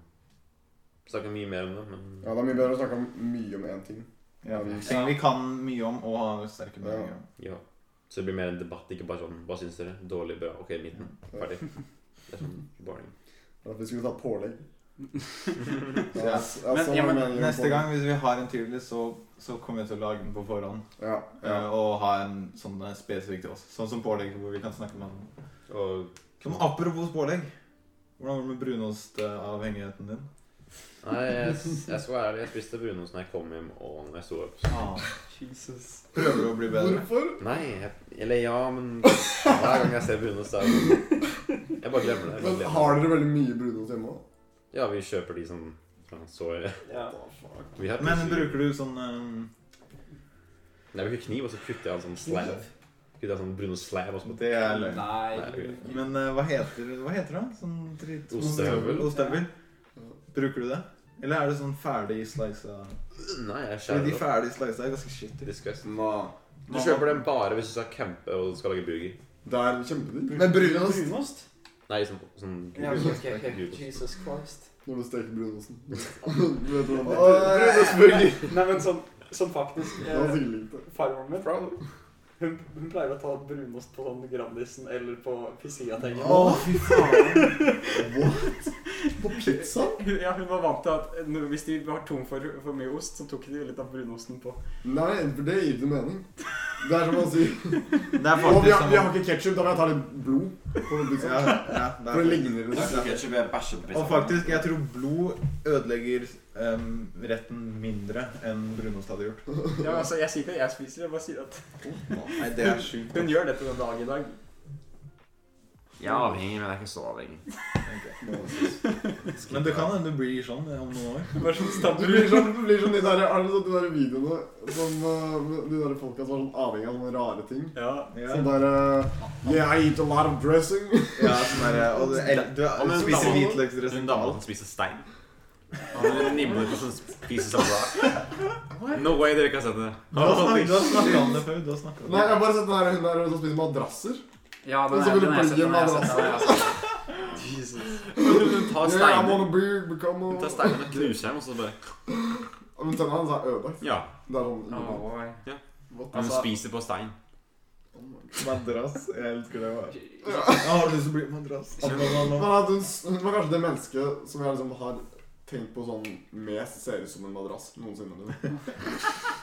A: Snakke mye mer om det, men
D: Ja, det er mye bedre å snakke om mye om én ting.
B: Ja, ting vi kan mye om og har sterke
D: Ja.
B: meninger om.
A: ja. Så det blir mer en debatt, ikke bare sånn Hva syns dere? Dårlig, bra? OK, midten. Ferdig. Det er sånn boring.
D: For at vi skulle ta pålegg.
B: Så
D: Jeg, jeg,
B: ja.
D: jeg,
E: Men-
D: så
E: ja, men
D: mange meninger om
B: Neste
D: pålegg.
B: gang, hvis vi har en tyrlist, så, så kommer vi til å lage den på forhånd.
D: Ja, ja.
B: eh, Og ha en sånn eh, spesifikk til oss. Sånn som pålegg, hvor vi kan snakke med han.
A: Og
B: Som apropos pålegg. Hvordan går det med brunostavhengigheten din?
A: Nei, jeg, jeg skal være ærlig. Jeg spiste brunost når jeg kom hjem, og når jeg sto opp.
E: Jesus.
B: Ah. Prøver du å bli bedre?
D: Hvorfor?
A: Nei, jeg, eller ja, men hver gang jeg ser brunost, så er det sånn- Jeg bare glemmer det.
D: Men
A: Jeg bare glemmer det.
D: har dere veldig mye brunost hjemme òg?
A: Ja, vi kjøper de som fra soy. Vi har
B: Men
A: plutselig-
B: bruker du sånn eh,
A: Nei, vi har kniv, og så kutter jeg en sånn slab. Kutter jeg en sånn brunost slab og så
B: Det er løgn.
E: Nei.
A: Nei, ok.
B: Men eh, hva heter hva heter det? Sånn drit-
A: Ostehøvel.
B: Ostehøvel.
D: Ja.
B: Bruker du det? Eller er det sånn ferdig slicea?
A: Nei, jeg
B: Fordi
A: skjærer
B: de
A: det opp.
B: ferdig slicea er ganske shitty.
A: Disgust.
D: Nei.
A: Du kjøper den bare hvis du skal campe og skal lage burger.
D: Det er kjempedigg.
C: Men brunost? brunost?
A: Nei, sånn, sånn
C: Ja, ok, ok, ok.
A: Brunost.
C: Jesus Christ.
D: Når du steker brunosten. Du vet hvordan det er.
C: Brunostburger. Nei, men sånn, sånn faktisk
D: Det var
C: eh,
D: sikkert likt det.
C: Farmoren min hun, hun pleier å ta brunost på sånn Grandisen eller på Pizziatengen.
B: Å, fy faen.
D: På pizza?
C: Hun- Ja, hun var vant til at når- hvis de var tom for, for mye ost, så tok de litt av brunosten på.
D: Nei, for det gir ikke noe mening. Det er som å
A: [laughs]
D: si Å,
B: Det er
D: vi
B: faktisk
D: har,
B: som
D: vi har ikke ketsjup, da må jeg ta litt blod på den
B: ja,
D: pizzaen.
B: ja, det
D: For det
B: er
D: ligner det.
B: Og faktisk, jeg tror blod ødelegger em, retten mindre enn brunost hadde gjort.
C: Ja, altså, jeg sier ikke at jeg spiser, jeg bare sier at
B: Nei, det er sjukt.
C: hun gjør det til den dag i dag.
A: Jeg er avhengig, men jeg er ikke så avhengig.
B: Ok. Men det kan hende du blir sånn eh, om noen år.
C: Bare sånn
D: Du blir
C: stabbrus.
D: sånn, du blir sånn de der, er det sånn de der videoene som eh, De der folka som er sånn avhengig av sånne rare ting.
C: Ja.
B: Ja,
D: Sånn der eh, Yeah, I eat a lot of dressing.
B: ja sånn der, eh, og du, el, du,
A: Ja, men-
B: spiser
A: En
B: hvitløksdressing til
A: dame
B: alt.
A: som spiser stein. Han nimler på sånn spiser sånn bra. No way dere ikke har sett det.
B: Du har snak- du har snakket om det før. Du har snakket om
D: Nei,
B: det.
D: jeg har bare sett den der hun der som spiser madrasser.
E: Ja, den
D: Og så
E: er-
D: vil du
E: den har jeg sett.
D: plugge
E: Den har jeg
D: den
E: sett. Den har jeg sett.
A: Hun tar
D: Yeah, I
A: steinen
D: wanna be, become
A: Hun
D: a
A: tar steinen og knuser dem, og så bare
D: Men tennene hans er ødelagt.
A: Ja.
D: Det er sånn
E: Åh, boy.
D: What?
A: Hun
E: Altså-
A: spiser på stein.
B: Madrass. Jeg elsker det. Bare. Jeg har lyst til å bli madrass.
D: Men at hun, hun var kanskje det mennesket som jeg liksom har tenkt på sånn mest ser ut som en madrass noensinne. liksom.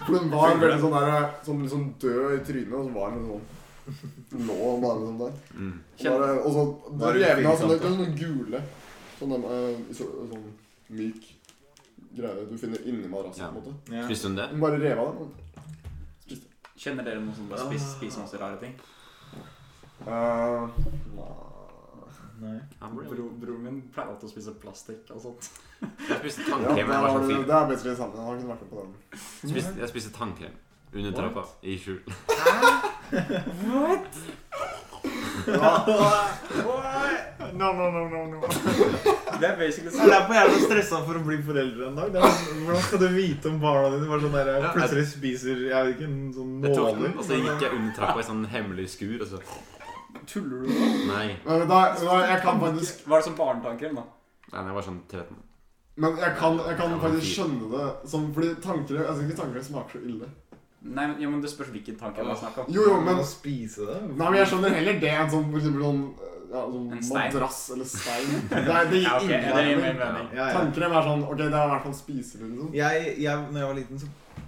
D: For hun var veldig sånn der Sånn liksom død i trynet, og så var hun liksom sånn Lå og bare liksom der.
A: Mm.
D: Og Bare, og så
B: Var
D: Det
B: det
D: jevne av sånne,
B: fint,
D: sånne gule Sånn dem, eh, så, sånn myk greie du finner inni madrassen,
A: Ja.
D: på en måte.
B: Ja.
A: Spiste hun det?
D: Hun bare rev av den.
E: Kjenner dere noen som bare spiser, spiser masse rare ting?
D: Uh,
B: Nei.
A: Hamburger.
C: Bro, broren min pleier alltid å spise plastikk og sånt.
A: Jeg
D: Ja,
A: spiste
D: det,
A: tannkrem. da jeg
D: var,
A: var
D: det
A: sånn fire.
D: er basically det samme. Jeg har ikke vært med på den.
A: Jeg spiste- Jeg spiste tannkrem under
C: What?
A: trappa i skjul.
C: What?
D: No, no, no, no, no.
C: Det er basically sånn.
B: Det er derfor jeg er så stressa for å bli foreldre en dag. Det er, sånn, hvordan skal du vite om barna dine bare sånn der,
A: Ja, jeg-
B: plutselig spiser jeg vet ikke, en sånn
A: Jeg tok
B: nåler?
A: den, og så gikk jeg under trappa i sånn hemmelig skur, og så
D: Tuller du nå?
A: Nei.
D: Men da, da, jeg kan faktisk
C: Var det som barnetannkrem, da?
A: Nei, jeg var sånn 13.
D: Men jeg kan, jeg kan
A: Ja,
D: faktisk
A: fint.
D: skjønne det som Fordi tanker, jeg synes ikke tanker smaker så ille.
E: Nei, men, ja, men det spørs hvilken tanke man snakker om.
D: Jo, jo, men
B: Å spise det?
D: Nei, men jeg skjønner heller det enn sånn for eksempel sånn ja, sånn
E: En stein.
D: madrass eller stein. Nei, det
C: Ja,
D: gir
C: ok,
D: ingen
C: det gir
D: mening.
C: mer mening.
B: Ja, ja.
D: Tanker er sånn Ok, det er i hvert fall spiselig, liksom.
B: Jeg, jeg, når jeg var liten,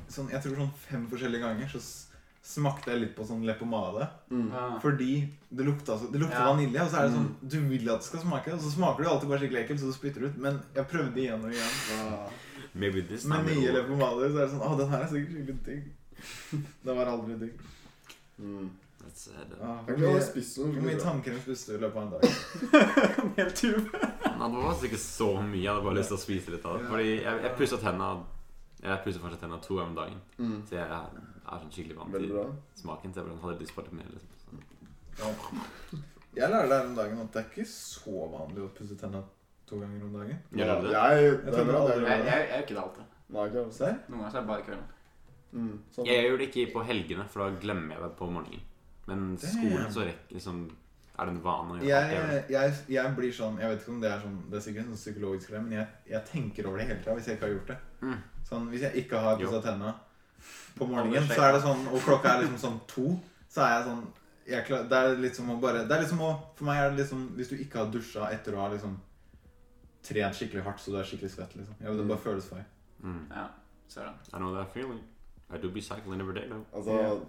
B: så sånn, jeg tror sånn fem forskjellige ganger så s- smakte jeg litt på sånn leppepomade.
D: Mm.
E: Ja.
B: Fordi det lukta, så, det lukta
C: Ja.
B: vanilje, og så er det
A: Mm.
B: sånn Du vil at det skal smake, og så smaker det alltid bare skikkelig ekkelt, så du spytter det ut. Men jeg prøvde igjen og igjen.
D: Ja.
A: Maybe this time
B: Med nye
A: it will-
B: leppepomader så er det sånn Å, den her er sikkert skikkelig digg. Den var aldri digg.
D: Mm.
A: That's sad.
B: Ah,
D: Jeg
B: Hvor
D: har ikke
B: mye-
D: spist
B: hvor mye
D: noe.
B: tannkrem spiste du i løpet av en dag?
C: En hel tube.
A: Nei, det var altså ikke så mye. Jeg hadde bare lyst til å spise litt av det.
B: Ja.
A: Fordi jeg, jeg pusset tenna Jeg pusser fortsatt tenna to ganger om dagen.
D: Mm.
A: Så jeg er, er sånn skikkelig vant
D: Veldig
A: til
D: bra.
A: smaken. Så jeg bare hadde lyst på litt mer. Liksom. Så-
B: Ja. Jeg lærte her om dagen at det er ikke så vanlig å pusse tenna to ganger om dagen.
A: Gjør dere det?
D: Jeg,
B: Jeg
D: det er
B: trodde
D: bra, det
B: aldri-
D: er
E: Jeg,
D: bra.
E: jeg, jeg gjør ikke det alltid.
D: Nei, ikke altså.
B: Serr?
E: Noen ganger så er det bare kvelden.
D: Mm. Sånn.
A: Jeg gjør det ikke på helgene, for da glemmer jeg det på morgenen. Men skolen
B: Damn.
A: så rekker liksom Er det en vane å gjøre at jeg gjør det?
B: Jeg, jeg, jeg blir sånn Jeg vet ikke om det er sånn Det er sikkert en sånn psykologisk greie, men jeg, jeg tenker over det hele tida hvis jeg ikke har gjort det.
A: Mm.
B: Sånn, Hvis jeg ikke har pussa
A: Jo.
B: tenna på
E: Alle
B: morgenen, så
E: sjekker.
B: er det sånn Og klokka er liksom sånn to, så er jeg sånn jeg klar, Det er litt som å bare Det er liksom å For meg er det liksom Hvis du ikke har dusja etter å ha liksom trent skikkelig hardt, så du er skikkelig svett, liksom. Jeg vet, det bare føles feil.
A: Mm.
E: Ja, ser det.
A: I know that feeling. I do be cycling every day, though.
B: Ja.
D: Altså,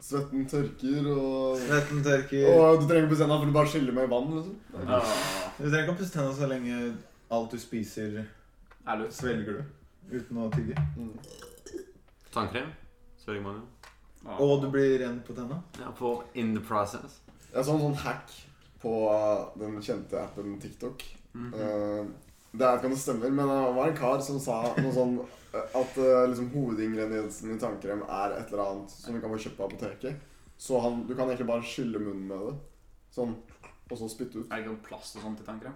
D: svetten tørker, og
B: Svetten tørker
D: Og du trenger ikke bestemme deg for å bare skylle med vann, liksom.
C: Ah.
E: Åh,
B: Du trenger ikke å pusse tenna så lenge alt du spiser,
E: Ærlig.
B: svelger du. Uten å tygge.
D: Mm.
A: Tannkrem. Sørgemannen.
E: Åh.
B: Og du blir ren på tenna.
A: Ja, på In the process.
D: Jeg så en sånn hack på eh, den kjente appen TikTok.
B: Mhm.
D: Eh, det er ikke om det stemmer, men det var en kar som sa noe sånn eh, at eh, liksom, hovedingrediensen i tannkrem er et eller annet som du kan få kjøpt på apoteket. Så han, du kan egentlig bare skylle munnen med det. Sånn. Og så spytte ut.
E: Er det ikke noe plast og sånt i tannkrem?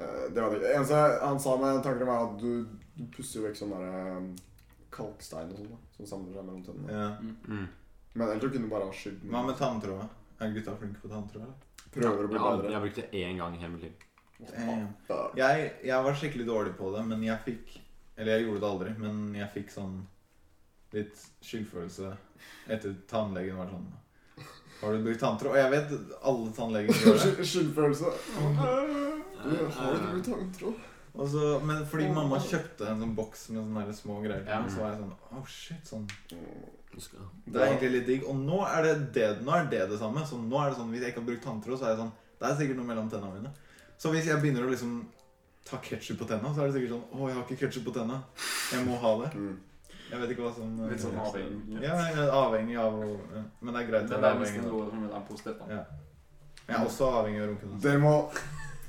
D: Eh, det var det ikke. eneste han sa med tannkrem, er at du, du pusser jo vekk sånn der eh, kalkstein og sånn, da, som samler seg mellom tennene.
B: Ja.
A: Mm.
D: Men ellers så kunne du bare ha skylt
B: Hva
D: munnen.
B: med tanntråd? Er gutta flinke på tanntråd? eller?
D: Prøver å
A: Jeg
D: bli
A: har- jeg
D: bedre.
A: har brukt det én gang i hele mitt liv.
B: Damn.
D: Ja.
B: Jeg, jeg var skikkelig dårlig på det, men jeg fikk Eller jeg gjorde det aldri, men jeg fikk sånn litt skyldfølelse etter tannlegen var sånn Har du brukt tanntråd? Og jeg vet alle tannleger gjør det.
D: Skyld- [laughs] Skyldfølelse. Du
A: Eh,
D: har ikke blitt tanntråd.
B: Og så, men fordi mamma kjøpte en sånn boks med sånne der små greier,
E: Ja.
B: så var jeg sånn Oh shit, sånn
A: Du skal
B: Det er egentlig litt digg. Og nå er det det, nå er det, det samme. Så nå er det sånn, Hvis jeg ikke har brukt tanntråd, så er det sånn Det er sikkert noe mellom tennene mine. Så hvis jeg begynner å liksom ta ketsjup på tenna, så er det sikkert sånn Å, jeg har ikke ketsjup på tenna. Jeg må ha det.
D: Mm.
B: Jeg vet ikke hva som eh,
E: Litt sånn
B: ja,
E: avhengig.
B: jeg er avhengig av å ja. Men det er greit.
E: Det
B: å
E: er
B: være
E: nesten
B: avhengig av det.
E: noe som er positivt. da.
B: Ja. Jeg er også avhengig av å runke. da.
D: Dere må,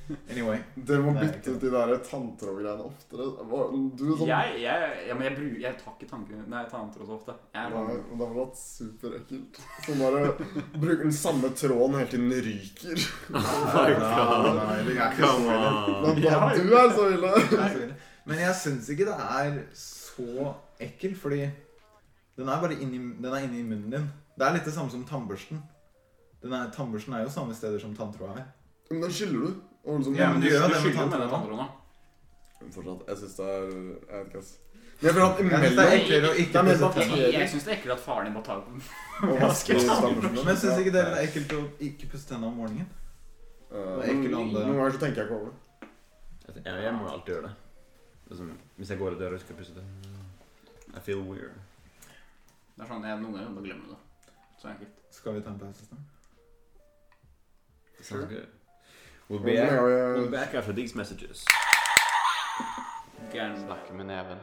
B: Anyway.
D: dere må
B: Nei,
D: bytte ut de der tanntrådgreiene oftere. Hva- Du er sånn
E: Jeg, jeg, ja, men jeg, bru- jeg tar ikke tanken Nei, jeg tar annet så ofte. Jeg er
D: Nei,
E: sånn-
D: men Det har vært superekkelt. Sånn bare bruker den samme tråden helt til den ryker.
B: Nei, nei, det er ikke så ille.
D: Men da, du er så ille!
B: Det er så ille. Men jeg syns ikke det er så ekkelt, fordi den er bare inni, den er inni munnen din. Det er litt det samme som tannbørsten. Den er, tannbørsten er jo samme steder som tanntråda er.
D: Men da skyller du. Og liksom,
B: Ja, men du gjør jo det med
E: skylder jo med
B: tanntråden.
E: tanntråden. da.
D: Fortsatt, jeg syns det er Jeg vet ikke, ass. Jeg føler at
B: Jeg synes det er
D: imellom
B: eklere å
D: Det
B: ikke
D: er mer
B: pusse
D: bakterier.
B: tenna.
E: Jeg, jeg syns det er ekkelt at faren din må ta den.
D: og vasker tannbørsten.
B: Men syns ikke dere det er ekkelt å ikke pusse tenna om morgenen?
D: Eh,
B: det er ekkelt
D: noen-
B: om det-
D: Noen ganger så tenker jeg ikke over det.
A: Jeg, jeg, må alltid gjøre det. Liksom, hvis jeg går i døra og skal pusse det I feel weird.
E: Det er sånn, jeg Noen ganger bare glemmer det. Så enkelt.
B: Skal vi ta en pause snart?
A: It sounds good. We'll
D: Og
A: be
D: noen
A: back,
D: ganger-
A: we'll be back after these messages.
E: Gæren.
A: Snakke med neven.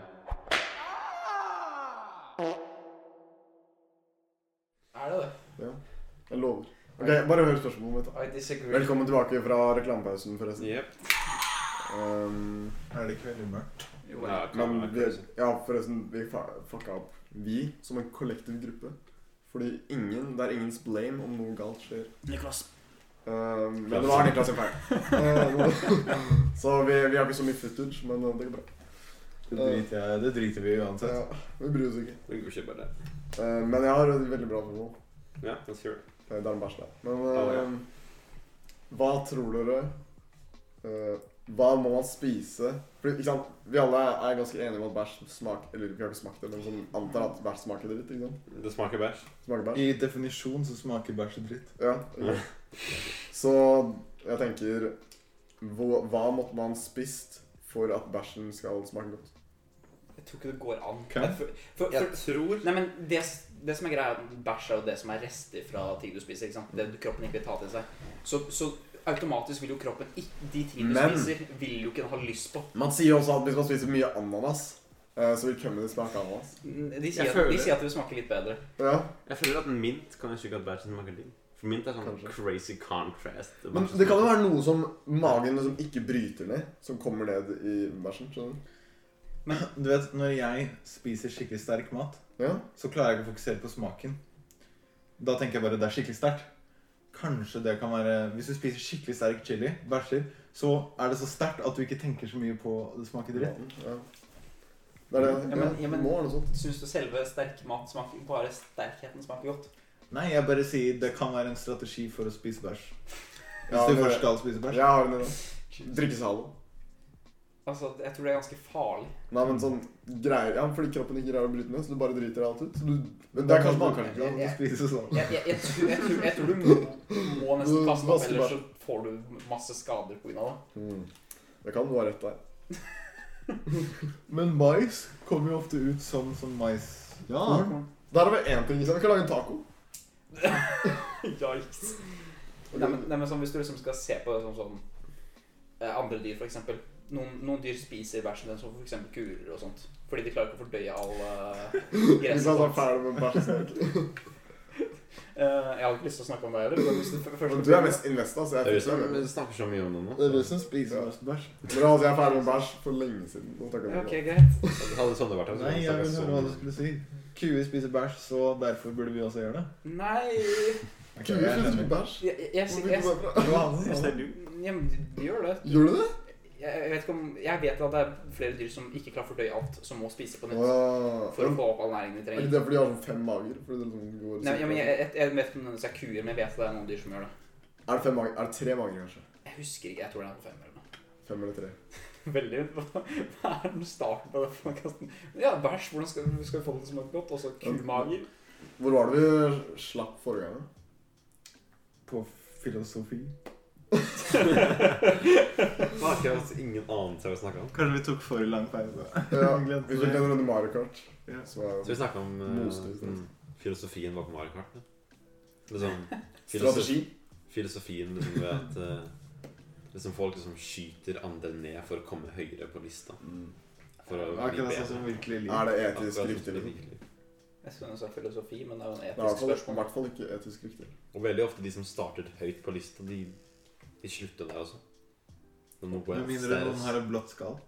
C: Er det det?
D: Jeg lover. Ok, bare hør spørsmålet mitt. da.
C: I disagree.
D: Velkommen tilbake fra reklamepausen, forresten.
A: Jepp.
D: Um,
B: Er det ikke veldig mørkt?
E: Jo,
A: Ja,
D: men
A: kamera er
D: vi,
A: crazy.
D: ja, forresten, vi fa- fucka opp. Vi som en kollektiv gruppe. Fordi ingen, det er ingens blame om noe galt skjer.
E: Niklas.
D: Um, men det var Niklas sin feil. Um, [laughs] så vi, vi har ikke så mye footage, men eh, det går bra.
B: Det driter, jeg, det driter vi i uansett.
D: Ja, vi bryr oss ikke.
A: Vi går ikke bare der.
D: Uh, men jeg har et veldig bra spørsmål.
A: Ja, let's hear it.
D: Det er en bæsj der. Men
A: Ja, ja.
D: eh, hva tror dere eh, Hva må man spise? For, ikke sant? Vi alle er ganske enige om at bæsj smaker Eller vi har ikke smakt det, men sånn antar at bæsj smaker dritt. ikke sant?
A: Det smaker bæsj.
D: Smaker bæsj.
B: I definisjon så smaker bæsj dritt.
D: Ja. [laughs] ok. Så jeg tenker hva, hva måtte man spist for at bæsjen skal smake godt?
E: Jeg tror ikke det går an.
B: Hvem?
E: Jeg f- For, for,
A: Jeg tror
E: Nei, men det, det som er greia, er at bæsj er jo det som er rester fra ting du spiser. ikke sant? Det du- kroppen ikke vil ta til seg. Så, så automatisk vil jo kroppen ikke, De tingene du
D: Men-
E: spiser, vil jo ikke den ha lyst på.
D: Man sier også at hvis man spiser mye ananas, eh, så vil kummen din smake ananas.
E: De
C: Jeg
E: sier, at,
C: føler-
E: de sier at det vil smake litt bedre.
D: Ja.
A: Jeg føler at mint kan ikke at bæsj smaker digg. For mint er sånn
D: Kanskje.
A: crazy contrast.
D: Men det kan jo være noe som magen liksom ikke bryter ned, som kommer ned i bæsjen. skjønner du?
B: Du vet, når jeg spiser skikkelig sterk mat,
D: Ja.
B: så klarer jeg ikke å fokusere på smaken. Da tenker jeg bare det er skikkelig sterkt. Kanskje det kan være Hvis du spiser skikkelig sterk chili, bæsjer, så er det så sterkt at du ikke tenker så mye på det smaker dritt.
D: Ja. Det er det.
E: Ja, men- ja,
D: ja,
E: men-
D: må være noe sånt.
E: Syns du selve sterk mat smaker Bare sterkheten smaker godt?
B: Nei, jeg bare sier det kan være en strategi for å spise bæsj. Hvis
D: Ja,
B: du
D: det-
B: først skal spise bæsj.
D: Jeg har en idé. Drikke Zalo.
E: Altså, Jeg tror det er ganske farlig.
D: Nei, men sånn greier Ja, fordi kroppen ikke greier å bryte ned, så du bare driter alt ut. Så du Men det er kanskje man kanskje ikke
B: Du spiser sånn.
E: Jeg, jeg, jeg, tror, jeg, tror, jeg tror du må, må nesten kaste opp,
D: Vaske
E: ellers så får du masse skader pga. det.
D: Mm. Det kan være rett der.
B: Men mais kommer jo ofte ut som sånn mais.
D: Ja.
E: [laughs]
D: Der har vi én ting. Liksom. Vi kan lage en taco.
E: Yikes. Nei, men, nei, men sånn, Hvis du liksom skal se på det som sånn eh, andre dyr, f.eks. Noen, noen dyr spiser bæsjen den som f.eks. kurer og sånt. Fordi de klarer ikke å fordøye all
D: [laughs]
E: eh,
D: Hvis
E: gresset.
D: han er
E: og sånt.
D: ferdig med bæsj.
E: Eh, jeg har ikke lyst til å snakke om det heller. men Hvis du f- først
D: Men Du er mest investa, så jeg
A: Det er vi
D: fikser
A: som
D: det.
A: snakker så mye om det nå.
B: Det er vi som spiser mest bæsj.
D: Men altså, jeg er ferdig med bæsj for lenge siden. Nå snakker vi
E: Ja,
D: om
E: Ok,
D: det.
E: greit.
A: Hadde sånne vært her, så
B: Nei,
A: kunne vi
B: jeg
A: snakket
B: vil
A: så
B: høre hva du
A: mye.
B: skulle si. Kuer spiser bæsj, så derfor burde vi også gjøre det.
E: Nei
B: Ok,
D: Kuer
B: jeg er
D: spiser
B: enig.
D: ikke bæsj.
E: Jeg, jeg, jeg, jeg,
D: Hvor fikk du
E: jeg,
D: det fra?
B: Det var han som sa det. [laughs]
E: ja, men de- de gjør det.
D: Gjør du det?
E: Jeg, jeg vet ikke om Jeg vet at det er flere dyr som ikke klarer å fordøye alt, som må spise på nytt
D: Wow.
E: for å få opp all næringen de
D: Er ikke
E: trenger.
D: det fordi de har sånn fem mager? Fordi det liksom går
E: Nei, ja, men jeg, jeg, jeg vet ikke om det er kuer, men jeg vet at det er noen dyr som gjør det.
D: Er det fem mager? Er det tre mager, kanskje?
E: Jeg husker ikke. Jeg tror det er på fem eller noe.
D: Fem eller tre?
E: [laughs] Veldig Hva hva er den starten på den podcasten? Ja, bæsj. Hvordan skal, skal vi få den til å smake godt? Og så kumager.
D: Hvor var det vi slapp forrige gang? da?
B: På filosofi.
A: Faen, ikke at ingen anelse hva vi snakket om.
B: Kanskje vi tok for lang pause. [laughs]
D: Ja,
B: Jeg glemte
D: vi fikk
B: det.
D: en runde Mario Kart.
B: Ja.
D: Som er
A: Så vi snakket om eh,
D: Motstrid,
A: mm, filosofien bak Mario Kart. ja. Liksom, filosof,
D: strategi.
A: filosofien liksom, ved at eh, liksom, folk liksom skyter andre ned for å komme høyere på lista. For å bli
B: Akkurat sånn
A: bedre.
B: som virkelig liv.
D: Er det
A: Akkurat
D: etisk
A: sånn
D: riktig?
A: som
D: eller?
A: det virkelig-
E: Jeg skulle ønske filosofi, men det er jo et
D: Det er i
E: etisk
D: hvert fall- i
E: spørsmål.
D: hvert fall ikke etisk riktig.
A: Og veldig ofte de som startet høyt på lista, de, de slutter der også. De må gå
B: Med
A: en
B: mindre
A: stairs.
B: noen har sånn et blått skall.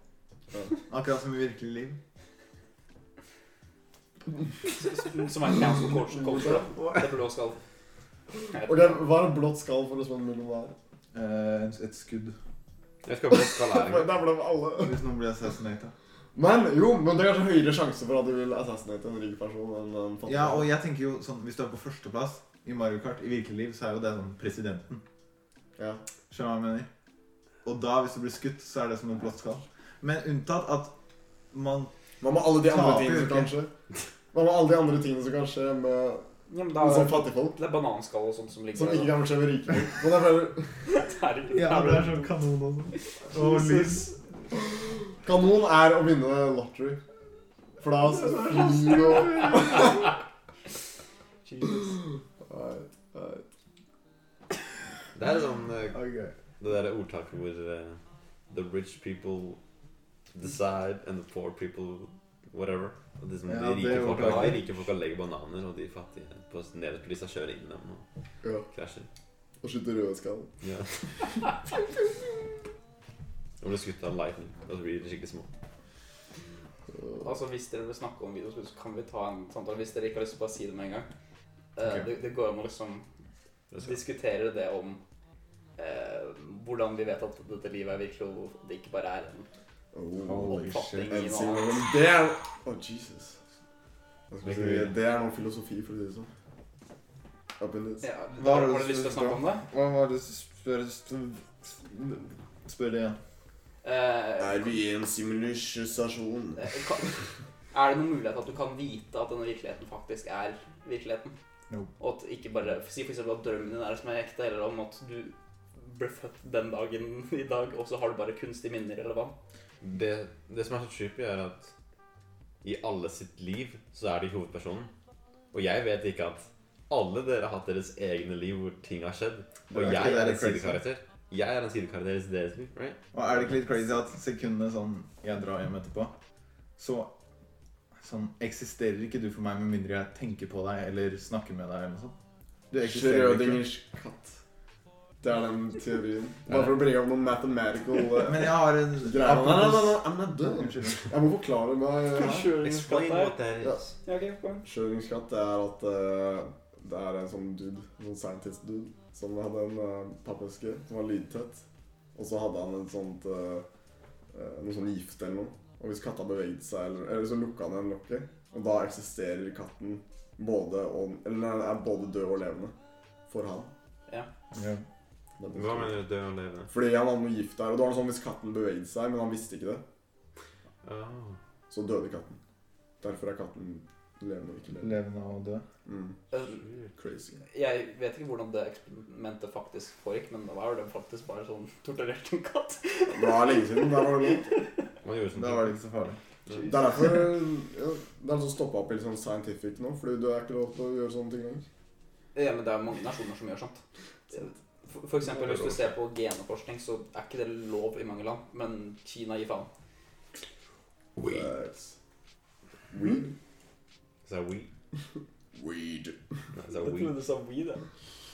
D: Ja.
B: Akkurat som i virkelig liv.
E: Som er cancel coach, coach da. Det blå skal
D: Ok, Hva er et blått skall for å spille millionær?
B: Eh, et skudd.
A: Jeg skal bare skal lære [laughs]
D: Det er blant alle.
B: Hvis noen blir assassinated.
D: Men jo, men det er kanskje høyere sjanse for at du vil assassinate en rik person enn en fattig.
B: Ja, og jeg tenker jo sånn Hvis du er på førsteplass i Mario Kart i virkelig liv, så er jo det sånn presidenten.
D: Ja.
B: Skjønner du hva jeg mener? Og da, hvis du blir skutt, så er det som et blått skall. Men unntatt at man
D: Hva med alle de andre
B: Taper
D: tingene som
B: ikke.
D: kan skje? Hva med alle de andre tingene som kan skje med
E: Ja, men da
D: med
E: er
D: sånn fattigfolk?
E: det er bananskall og sånt som ligger
D: Som ikke
E: [laughs] der.
D: kan skje med rike folk? Men jeg føler
E: Herregud.
B: sånn kanon og sånn. Og lys.
E: Jesus.
D: Kanon er å vinne lottery. For da flyr du og
E: Jesus.
D: Nei, nei.
A: Det er sånn eh,
B: Ok.
A: det der ordtaket hvor eh, The rich people decide and the poor people whatever. Og det som
B: Ja,
A: de, rike
B: det var
A: folka,
B: bra.
A: de rike folka legger bananer, og de fattige på nederprisa kjører inn dem og
D: Ja,
A: krasjer.
D: og skyter rødskall.
A: Ja. [laughs] Og blir skutt av lightning. Og så blir de skikkelig små.
E: [clears throat] Altså Hvis dere vil snakke om videospill, så kan vi ta en samtale. Hvis dere ikke har lyst til å bare si det med en gang. Eh,
A: Ok.
E: Det, det går an å liksom diskutere det om eh, hvordan vi vet at dette livet er virkelig, og hvor det ikke bare er en
D: Oh,
B: Holy
E: oppfatning i
B: shit.
D: en
E: noe
D: single
E: annet.
D: one. Det er Oh, Jesus. Jeg skulle
A: Det er
D: si, Det er noe filosofi, for å si det sånn. Up in this.
E: Ja,
B: Hva
E: har,
B: er det
E: du lyst til å
B: som-
E: snakke om det?
B: Hva var det Spør, spør, spør det igjen.
E: Eh,
D: Er vi i en simulisjon?
E: eh, kan, er det noen mulighet at du kan vite at denne virkeligheten faktisk er virkeligheten?
B: No.
E: Og at ikke bare Si f.eks. at drømmen din er det som er ekte, eller om at du ble født den dagen i dag, og så har du bare kunstige minner, eller hva?
A: Det, det som er så creepy, er at i alle sitt liv så er de hovedpersonen. Og jeg vet ikke at alle dere har hatt deres egne liv hvor ting har skjedd.
B: Det er
A: Og
B: ikke
A: jeg
B: det
A: er en
B: litt crazy?
A: sidekarakter. Jeg er en sidekarakter i deres liv. right?
B: Og er det ikke litt crazy at sekundene sånn jeg drar hjem etterpå, så sånn eksisterer ikke du for meg med mindre jeg tenker på deg eller snakker med deg eller noe sånt? Du eksisterer ikke.
D: Schrødingers katt. Det er den teorien. Bare for å bringe opp noen mathematical eh,
B: Men jeg har en
D: greier. Ah, Nei, nei, nei, nei, I'm not done.
B: Unnskyld.
D: Jeg må forklare meg eh, her.
A: Explain what that
D: Ja.
A: is.
E: Ja, ok, kom igjen.
D: Schrødingers katt er at eh, det er en sånn dude, en sånn scientist-dude, som hadde en uh, pappeske som var lydtett. Og så hadde han en sånt eh, eh, noe sånn gift eller noe. Og hvis katta beveget seg, eller, eller så lukka han igjen lokket. Og da eksisterer katten både, og, eller, nei, er både død og levende for han.
B: Ja.
A: Hva mener du død og levende?
D: Fordi han hadde noe gift der, og det var noe sånn hvis katten beveget seg, men han visste ikke det,
A: Ah.
D: så døde katten. Derfor er katten levende og ikke levende.
B: Levende og død.
D: Mm.
E: Eh,
D: Crazy.
E: Jeg vet ikke hvordan det eksperimentet faktisk foregikk, men da var det faktisk bare sånn torturert en katt.
D: Det var lenge siden, der var det lov.
A: Man gjorde sånn
B: Da var det ikke så farlig.
D: Det er derfor ja, det er liksom stoppa opp i litt sånn scientific nå, fordi du er ikke lov til å gjøre sånne ting lenger.
E: Ja, men det er mange nasjoner som gjør sånt. For, for eksempel, hvis du ser på geneforskning, så er ikke det lov i mange land, men Kina gir faen.
A: Weed.
D: Yes. Weed.
A: Sa jeg weed?
D: Weed.
A: Nei, sa
C: Jeg
A: jeg weed.
C: trodde du sa weed. jeg.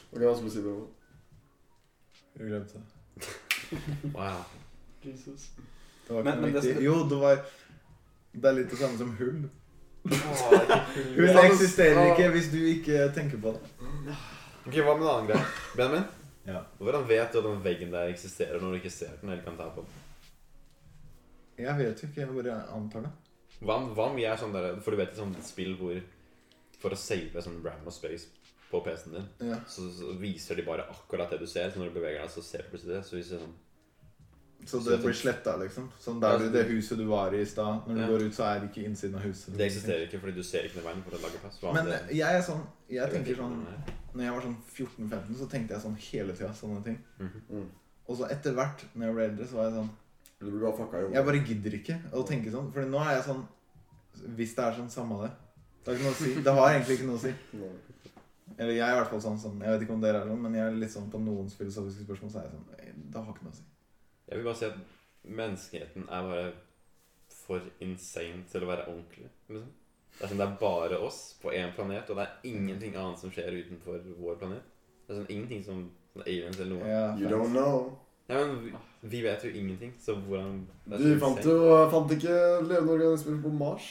D: Ok, hva skal vi si på det?
B: Vi glemte det.
A: Wow.
C: Jesus.
B: Det var ikke
E: Men-
B: noe
E: men det
B: viktig.
E: som-
B: Jo, det var Det er litt det samme som hull.
E: Hun
B: Hull eksisterer ikke hvis du ikke tenker på det.
A: Ok, Hva med en annen greie? Benjamin,
B: Ja.
A: hvordan vet du at den veggen der eksisterer når du ikke ser den eller kan ta på den?
B: Jeg vet jo ikke, jeg bare antar det.
A: Hva om, hva om jeg er sånn der For du vet et sånt spill hvor For å save sånn random space på PC-en din,
B: Ja.
A: så, så viser de bare akkurat det du ser. Så når du beveger deg, så ser du plutselig det. Så hvis det er sånn
B: Så det blir sletta, liksom. Sånn der det huset du var i i stad. Når du
A: Ja.
B: går ut, så er ikke innsiden av huset.
A: Det eksisterer ikke fordi du ser ikke ned veien for å lage plass. Hva om
B: Men
A: det,
B: jeg er sånn Jeg
A: vet
B: tenker
A: ikke
B: sånn
A: hvordan det er.
B: Når jeg var sånn 14-15, så tenkte jeg sånn hele tida sånne ting.
A: Mhm.
D: Mm.
B: Og så etter hvert, når jeg ble eldre, så var jeg sånn
D: Du blir bare fucka i
B: Jeg
D: hodet.
B: bare gidder ikke å tenke sånn. For nå er jeg sånn Hvis det er sånn, samme det. Det har ikke noe å si. Det har egentlig ikke noe å si.
D: Nå.
B: Eller jeg er i hvert fall sånn, sånn Jeg vet ikke om dere er sånn, men jeg er litt sånn på noens filosofiske spørsmål, så er jeg sånn Det har ikke noe å si.
A: Jeg vil bare si at menneskeheten er bare for insane til å være ordentlig. Liksom. Det er sånn det er bare oss på én planet, og det er ingenting annet som skjer utenfor vår planet. Det er sånn ingenting som sånn aliens eller noe.
B: Ja,
D: You
B: faen.
D: don't know.
A: Nei, men vi, vi vet jo ingenting, så hvordan det er
D: Du
A: så
D: fant
A: insane.
D: jo fant ikke levende organismer på Mars.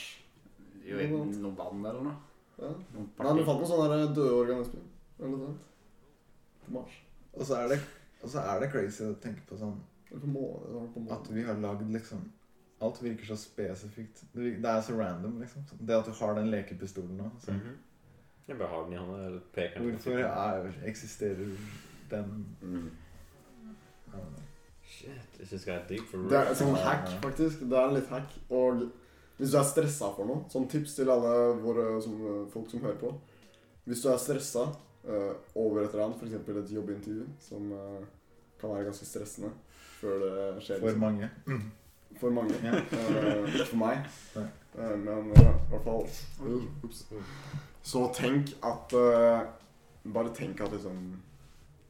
E: Jo, i noe vann eller noe.
D: Ja.
E: Noen
D: Nei, du
E: parti.
D: fant noen sånne der døde organismer. Eller noe sånt. På Mars.
B: Og så er det og så er det crazy å tenke på sånn
D: Eller på månen. eller på
B: At
D: månen.
B: vi har lagd liksom Alt virker så spesifikt. Det vir- det er så random, liksom. Det at du har den lekepistolen nå. Så.
A: Mhm. Jeg bare har den i hånda. eller peker den på
B: Hvorfor
A: siden.
B: er, eksisterer den
D: Mm.
B: ja,
A: Shit, this is got deep for
D: Det
A: real.
D: er sånn hack, faktisk. Det er litt hack. Og hvis du er stressa for noe, sånn tips til alle våre som, folk som hører på Hvis du er stressa eh, over et eller annet, f.eks. et jobbintervju, som eh, kan være ganske stressende før det skjer
B: For
D: liksom.
B: mange.
D: for mange.
B: Ja.
D: Eh, ikke for meg.
B: Nei.
D: Eh, men eh, i hvert fall uh, ups. Så tenk at eh, Bare tenk at liksom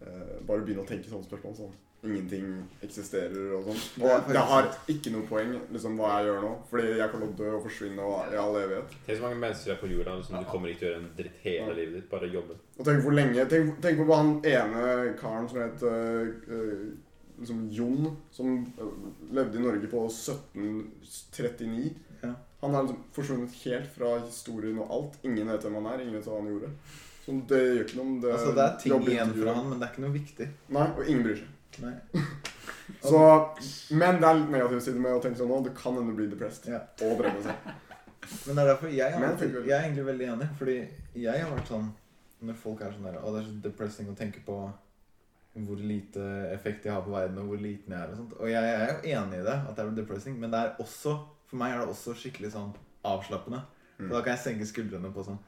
D: eh, Bare begynn å tenke sånne spørsmål. Sånn. ingenting eksisterer og sånn.
B: Det er
D: Og
B: faktisk-
D: det har ikke noe poeng liksom, hva jeg gjør nå, fordi jeg kommer til å dø og forsvinne og i all evighet.
A: Tenk så mange mennesker er på jorda som du kommer ikke til å gjøre en dritt hele
D: Ja.
A: livet ditt. Bare jobbe.
D: Og tenk hvor lenge Tenk, tenk på han ene karen som het eh, eh, liksom Jon, som eh, levde i Norge på 1739.
B: Ja.
D: Han er liksom forsvunnet helt fra historien og alt. Ingen vet hvem han er, ingen vet hva han gjorde. Så det gjør ikke noe om det
B: Altså, det er ting
D: jobber
B: igjen
D: intervjuet.
B: fra han, men det er ikke noe viktig.
D: Nei, og ingen bryr seg.
B: Nei.
D: Så, men det er litt negativ side med å tenke sånn nå. Du kan hende bli depressed
B: Ja.
D: og drømme
B: [laughs]
D: seg.
B: Men det er derfor jeg, er
D: Men
B: alltid-
D: tenker-
B: jeg er egentlig veldig enig. Fordi jeg har vært sånn Når folk er sånn der Å, det er så depressing å tenke på hvor lite effekt jeg har på verden, og hvor liten jeg er. Og sånt Og jeg er jo enig i det, at det er depressing, men det er også for meg er det også skikkelig sånn avslappende.
D: Mm.
B: For da kan jeg senke skuldrene på sånn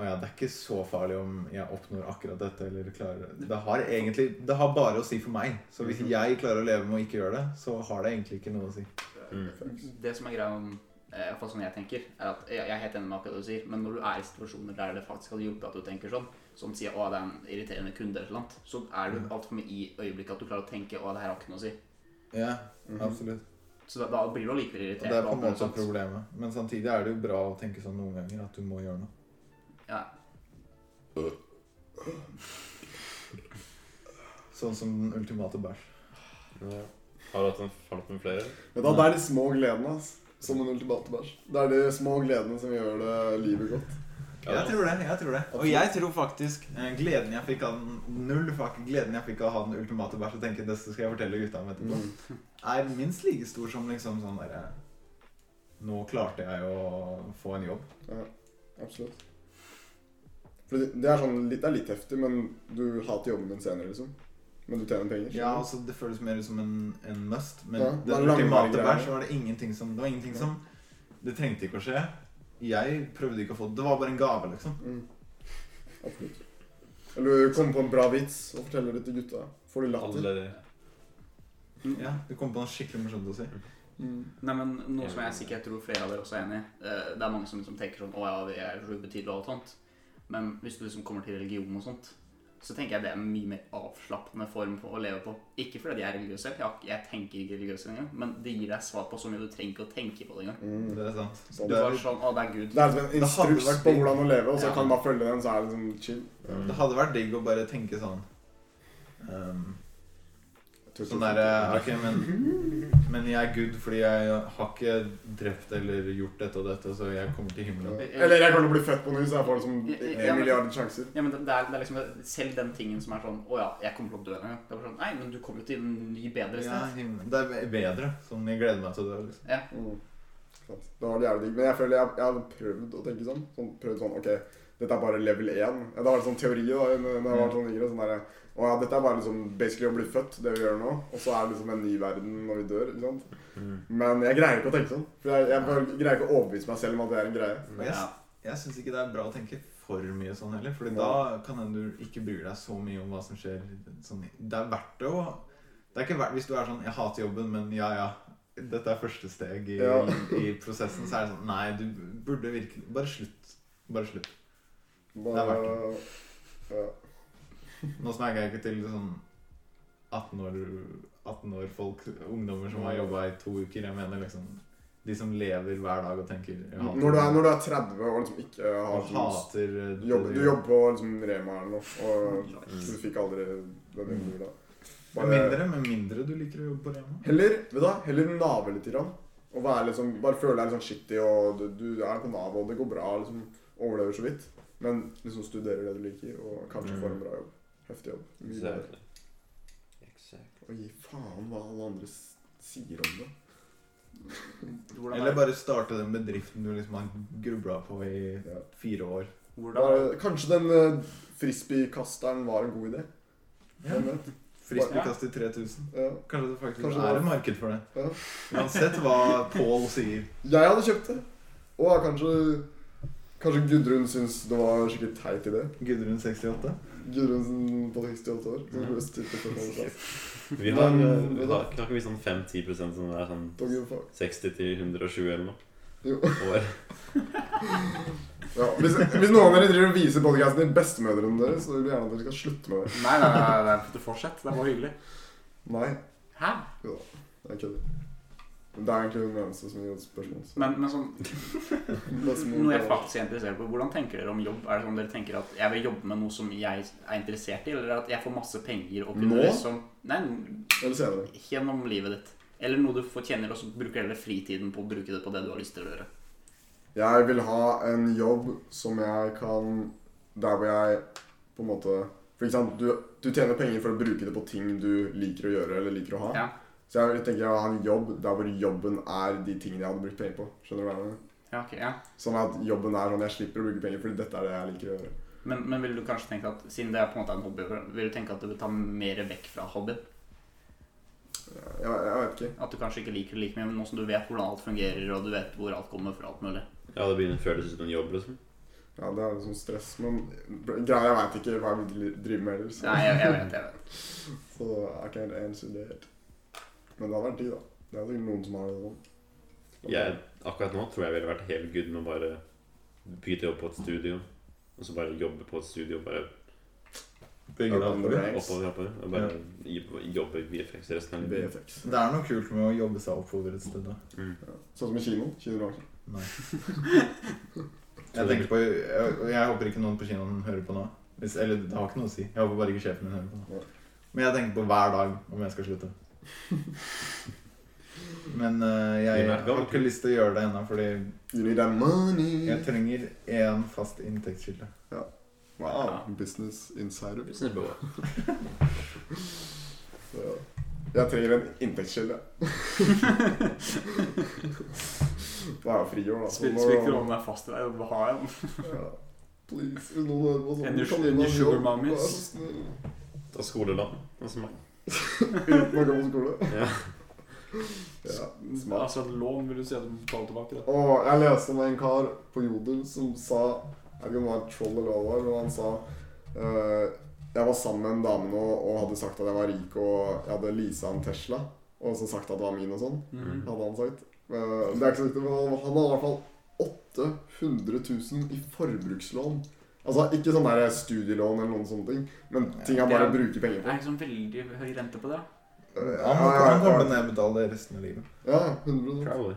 B: Å ja, det er ikke så farlig om jeg oppnår akkurat dette eller klarer Det har egentlig Det har bare å si for meg. Så
D: Mhm.
B: hvis jeg klarer å leve med å ikke gjøre det, så har det egentlig ikke noe å si. Mm.
E: Det som er greia om eh, i hvert fall sånn jeg tenker, er at jeg jeg er helt enig med akkurat det du sier, men når du er i situasjoner der det faktisk hadde hjulpet at du tenker sånn, som sier 'Å, det er en irriterende kunde' eller noe, så er
B: Mm.
E: du altfor mye i øyeblikket at du klarer å tenke 'Å, det her har ikke noe å si'.
B: Ja,
D: Mhm.
B: absolutt.
E: Så da, da blir du allikevel irritert.
B: Og det er på
E: og alt
B: en
E: mulig
B: måte
E: sånt.
B: problemet. Men samtidig er det jo bra å tenke sånn noen ganger at du må gjøre noe.
E: Ja.
B: Sånn som den ultimate bæsj.
A: Ja. Har du hatt en har du hatt noen flere?
D: Men da, det er de små gledene. ass Som en ultimate bæsj. Det er de små gledene som gjør det livet godt.
B: Jeg tror det. jeg tror det Og
D: Absolutt.
B: jeg tror faktisk eh, gleden jeg fikk av den Null fuck gleden jeg fikk av å ha den ultimate bæsj og tenke dette skal jeg fortelle gutta om etterpå,
D: Mm.
B: er minst like stor som liksom sånn derre Nå klarte jeg å få en jobb.
D: Absolutt. For det, det, er sånn, litt- det er litt heftig, men du hater jobben din senere, liksom. Men du tjener penger.
B: Ja, altså Det føles mer ut som en, en must, men
D: Ja, det er
B: den
D: langvarige
B: ultimate
D: greier.
B: bæsj var det ingenting som Det var ingenting som Det trengte ikke å skje. Jeg prøvde ikke å få det. Det var bare en gave, liksom.
D: Mm. Absolutt. Eller du kommer på en bra vits og forteller det til gutta. Får de latter.
A: Alle de.
B: Ja, Du kom på noe skikkelig morsomt å si.
D: Mm.
E: Nei, men noe som jeg sikkert tror flere av dere også er enig i. eh, Det er mange som liksom tenker sånn 'Å ja, vi er så ubetydelige' og alt sånt. Men hvis du liksom kommer til religion og sånt, så tenker jeg det er en mye mer avslappende form for å leve på. Ikke fordi jeg er religiøs selv, jeg, har ikke- jeg tenker ikke religiøs engang, men det gir deg svar på så mye du trenger ikke å tenke på det engang.
D: Mm.
B: Det er sant.
D: Sånn.
E: Du er sånn 'Å, det er Gud'.
D: Det er liksom en
B: Det hadde
D: instruks
B: vært
D: på
B: digg.
D: hvordan å leve, og så
E: Ja.
D: kan du bare følge den, så er det liksom chill.
B: Det hadde vært digg å bare tenke sånn ehm, Sånn derre Ok, men, men jeg er good fordi jeg har ikke drept eller gjort dette og dette, så jeg kommer til himmelen.
D: Eller jeg kommer til å bli født på ny, så jeg får liksom
E: Ja, ja,
D: en
E: men-
D: milliard sjanser.
E: Ja, men det, det, er, det er liksom selv den tingen som er sånn 'Å ja, jeg kommer til å dø en gang'. Det er bare sånn 'Nei, men du kommer jo til en ny, bedre
B: Ja,
E: sted'.
B: himmelen. Det er bedre. Sånn, jeg gleder meg til å dø. liksom.
D: Mm. Sant. Det var jævlig digg. Men jeg føler jeg, jeg hadde prøvd å tenke sånn. sånn prøvd sånn, ok, dette er bare level 1. Ja, da var det sånn teori da, når når
B: Mm.
D: jeg var sånn yngre. sånn der, å ja, dette er bare liksom basically å bli født, det vi gjør nå. Og så er det liksom en ny verden når vi dør. ikke sant?
A: Mm.
D: Men jeg greier ikke å tenke sånn. For jeg, jeg bare greier ikke å overbevise meg selv om at det er en greie.
A: Mm.
B: Og jeg, jeg syns ikke det er bra å tenke for mye sånn heller, Fordi
D: Ja.
B: da kan hende du ikke bryr deg så mye om hva som skjer. Sånn. Det er verdt det å Det er ikke verdt hvis du er sånn 'Jeg hater jobben, men ja, ja'. Dette er første steg i,
D: Ja.
B: i prosessen. Så er det sånn Nei, du burde virkelig Bare slutt. Bare slutt.
D: Bare,
B: Det er
D: ja.
B: Nå snakker jeg ikke til sånn 18 år, 18 år folk, ungdommer som har jobba i to uker. Jeg mener liksom de som lever hver dag og tenker jeg
D: når,
B: hater
D: du er,
B: jobben,
D: når du er 30 og liksom ikke har
B: og hater eh, det
D: Jobb, du
B: gjør.
D: jobber på liksom Rema eller noe, og
E: Nice.
D: du fikk aldri den jobben du ville ha.
B: Mm. Med mindre, med mindre du liker å jobbe på Rema.
D: Heller, vet du, hva, heller nave litt. Grann. Og være liksom, bare føle deg litt sånn shitty, og du, du er på Nav, og det går bra. liksom, Overlever så vidt. Men liksom studerer det du liker, og kanskje
A: Mm.
D: får en bra jobb. Heftig jobb. Mye bedre.
A: Exactly. Exactly.
D: Og gi faen hva alle andre s- sier om det.
E: Hvordan
B: Eller
E: er-
B: bare starte den bedriften du liksom har grubla på i
D: Ja.
B: fire år.
E: hvordan er-
D: Bare, kanskje den eh, frisbeekasteren var en god idé. Hvem vet?
B: Frisbeekast i 3000.
D: Ja.
B: Kanskje det faktisk
D: Kanskje det
B: er
D: var-
B: et marked for det.
D: Ja.
B: Uansett hva Paul sier.
D: Jeg hadde kjøpt det. Og kanskje, kanskje Gudrun syns det var en skikkelig teit idé.
B: Gudrun 68.
D: Gudrunsen på 68 år. Som
A: Ja.
D: stilte spørsmål til oss.
A: Vi har,
D: Men-
A: vi har knakker vi sånn 5-10 som er sånn
D: Don't give a fuck.
A: 60 til 120 eller noe.
D: Jo.
A: År.
D: Ja, hvis, hvis noen av dere driver og viser podkasten til bestemødrene deres, så vil vi gjerne at dere skal slutte med det.
E: Nei, nei, nei, nei, nei. fortsett. Det var hyggelig.
D: Nei,
E: Hæ?
D: jeg kødder. Men Det er egentlig hun eneste som gir oss spørsmål. så-
E: Men, men sånn,
D: Bestemor-
E: noe jeg faktisk er interessert på, hvordan tenker dere om jobb? Er det sånn dere tenker at jeg vil jobbe med noe som jeg er interessert i, eller at jeg får masse penger og kunne
D: Nå?
E: liksom Nei,
D: Eller senere.
E: gjennom livet ditt. Eller noe du fortjener, og så bruker heller fritiden på å bruke det på det du har lyst til å gjøre.
D: Jeg vil ha en jobb som jeg kan Der hvor jeg på en måte For eksempel, du, du tjener penger for å bruke det på ting du liker å gjøre eller liker å ha.
E: Ja.
D: Så jeg vil- tenker jeg vil ha en jobb der hvor jobben er de tingene jeg hadde brukt penger på. Skjønner du hva jeg mener?
E: Ja, ok, ja.
D: Sånn at jobben er sånn jeg slipper å bruke penger fordi dette er det jeg liker å gjøre.
E: Men, men vil du kanskje tenke at, siden det er på en måte en hobby, vil du tenke at du vil ta mer vekk fra hobbyen?
D: Jeg, jeg vet ikke.
E: At du kanskje ikke liker det like mye, men nå som du vet hvordan alt fungerer, og du vet hvor alt kommer fra, alt mulig.
A: Ja, det begynner før det synes en jobb, liksom.
D: Ja, Det er liksom stress, men greia jeg veit ikke hva jeg vil drive med heller. Så,
E: Nei, jeg, jeg vet, jeg vet.
D: så jeg er ikke helt answer det helt. Men det hadde vært digg, da. Det er sikkert noen som har det sånn.
A: Jeg, akkurat nå tror jeg ville vært helt good med å bare bytte jobb på et studio. Og så bare jobbe på et studio. Bare
D: Bygge det opp.
A: oppover, oppover. Og bare gi- jobbe i VFX resten av livet.
D: VFX.
B: Det er noe kult med å jobbe seg oppover et sted. da
A: Mm.
D: Ja. Sånn som i kino. Kinobransjen.
B: Nei. [laughs] Jeg tenker på jeg, jeg håper ikke noen på kinoen hører på nå. Hvis, eller det har ikke noe å si. Jeg håper bare ikke sjefen min hører på nå. Men jeg tenker på hver dag om jeg skal slutte. Men eh, jeg
A: Din er
B: har
A: gammel.
B: ikke lyst til å gjøre det ennå, fordi
D: You need that money.
B: jeg trenger én fast inntektskilde.
D: Wow. Business insider.
A: Snurrbåa.
D: Ja. Jeg trenger en inntektskilde. det er jo friår, da. så
E: Spiller
D: må-
E: spil ikke rollen er fast i deg, du har en.
D: Ja. Please, hvis noen hører på sånn,
E: En
D: du kan
E: usj-
D: gi meg
E: en
D: jobb,
E: sugar mommies.
D: vær så snill.
A: Ta skoleland. Altså meg.
D: Uten å gå på skole.
A: Ja.
D: Ja, smart.
C: Altså et lån vil du si at du må betale tilbake, da.
D: Og jeg leste om en kar på Jodel som sa Jeg vet ikke om det var et troll eller hva det var, men han sa eh, Jeg var sammen med en dame nå og hadde sagt at jeg var rik og jeg hadde leasa en Tesla. Og så sagt at det var min og sånn,
E: Mm.
A: Mhm.
D: hadde han sagt. Eh, det er ikke så viktig, men han han hadde i hvert fall 800 000 i forbrukslån. Altså ikke sånn der studielån eller noen sånne ting, men ting jeg bare
E: Ja.
D: bruker penger
E: Det
D: på.
E: er ikke sånn veldig høy rente på det.
D: Eh,
B: Han
D: ja,
B: må-
D: ja,
B: han kommer til å
D: ja.
B: nedbetale det resten av livet.
D: Ja, sånn. 100
A: Probably.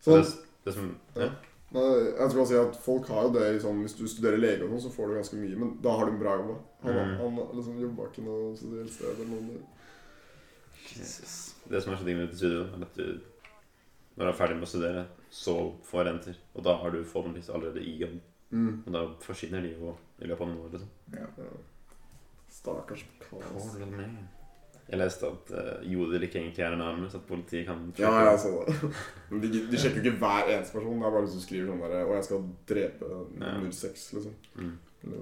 A: Så
D: Sånn
A: det, det som ja.
D: Nei, jeg tror jeg sier at folk har jo det i sånn, Hvis du studerer lege, og sånn, så får du ganske mye, men da har du en bra jobb. da. Han,
A: Mm.
D: han liksom jobba ikke noe studert sted eller noe.
A: Det som er så digg med dette studioet, er at du når du er ferdig med å studere, så får renter. Og da har du forhåpentligvis allerede i jobb.
D: Mm.
A: Og da forsvinner de jo i løpet av noen år. liksom.
D: Ja. Stakkars altså. kaos.
A: Poor little man. Jeg leste at uh, jodel ikke egentlig er en armus, at politiet kan
D: Ja, altså. jeg så det. [laughs] Men De, de sjekker jo ikke hver eneste person. Det er bare hvis du skriver sånn derre Og jeg skal drepe
A: Ja.
D: nummer seks, liksom.
A: Mm.
D: Eller,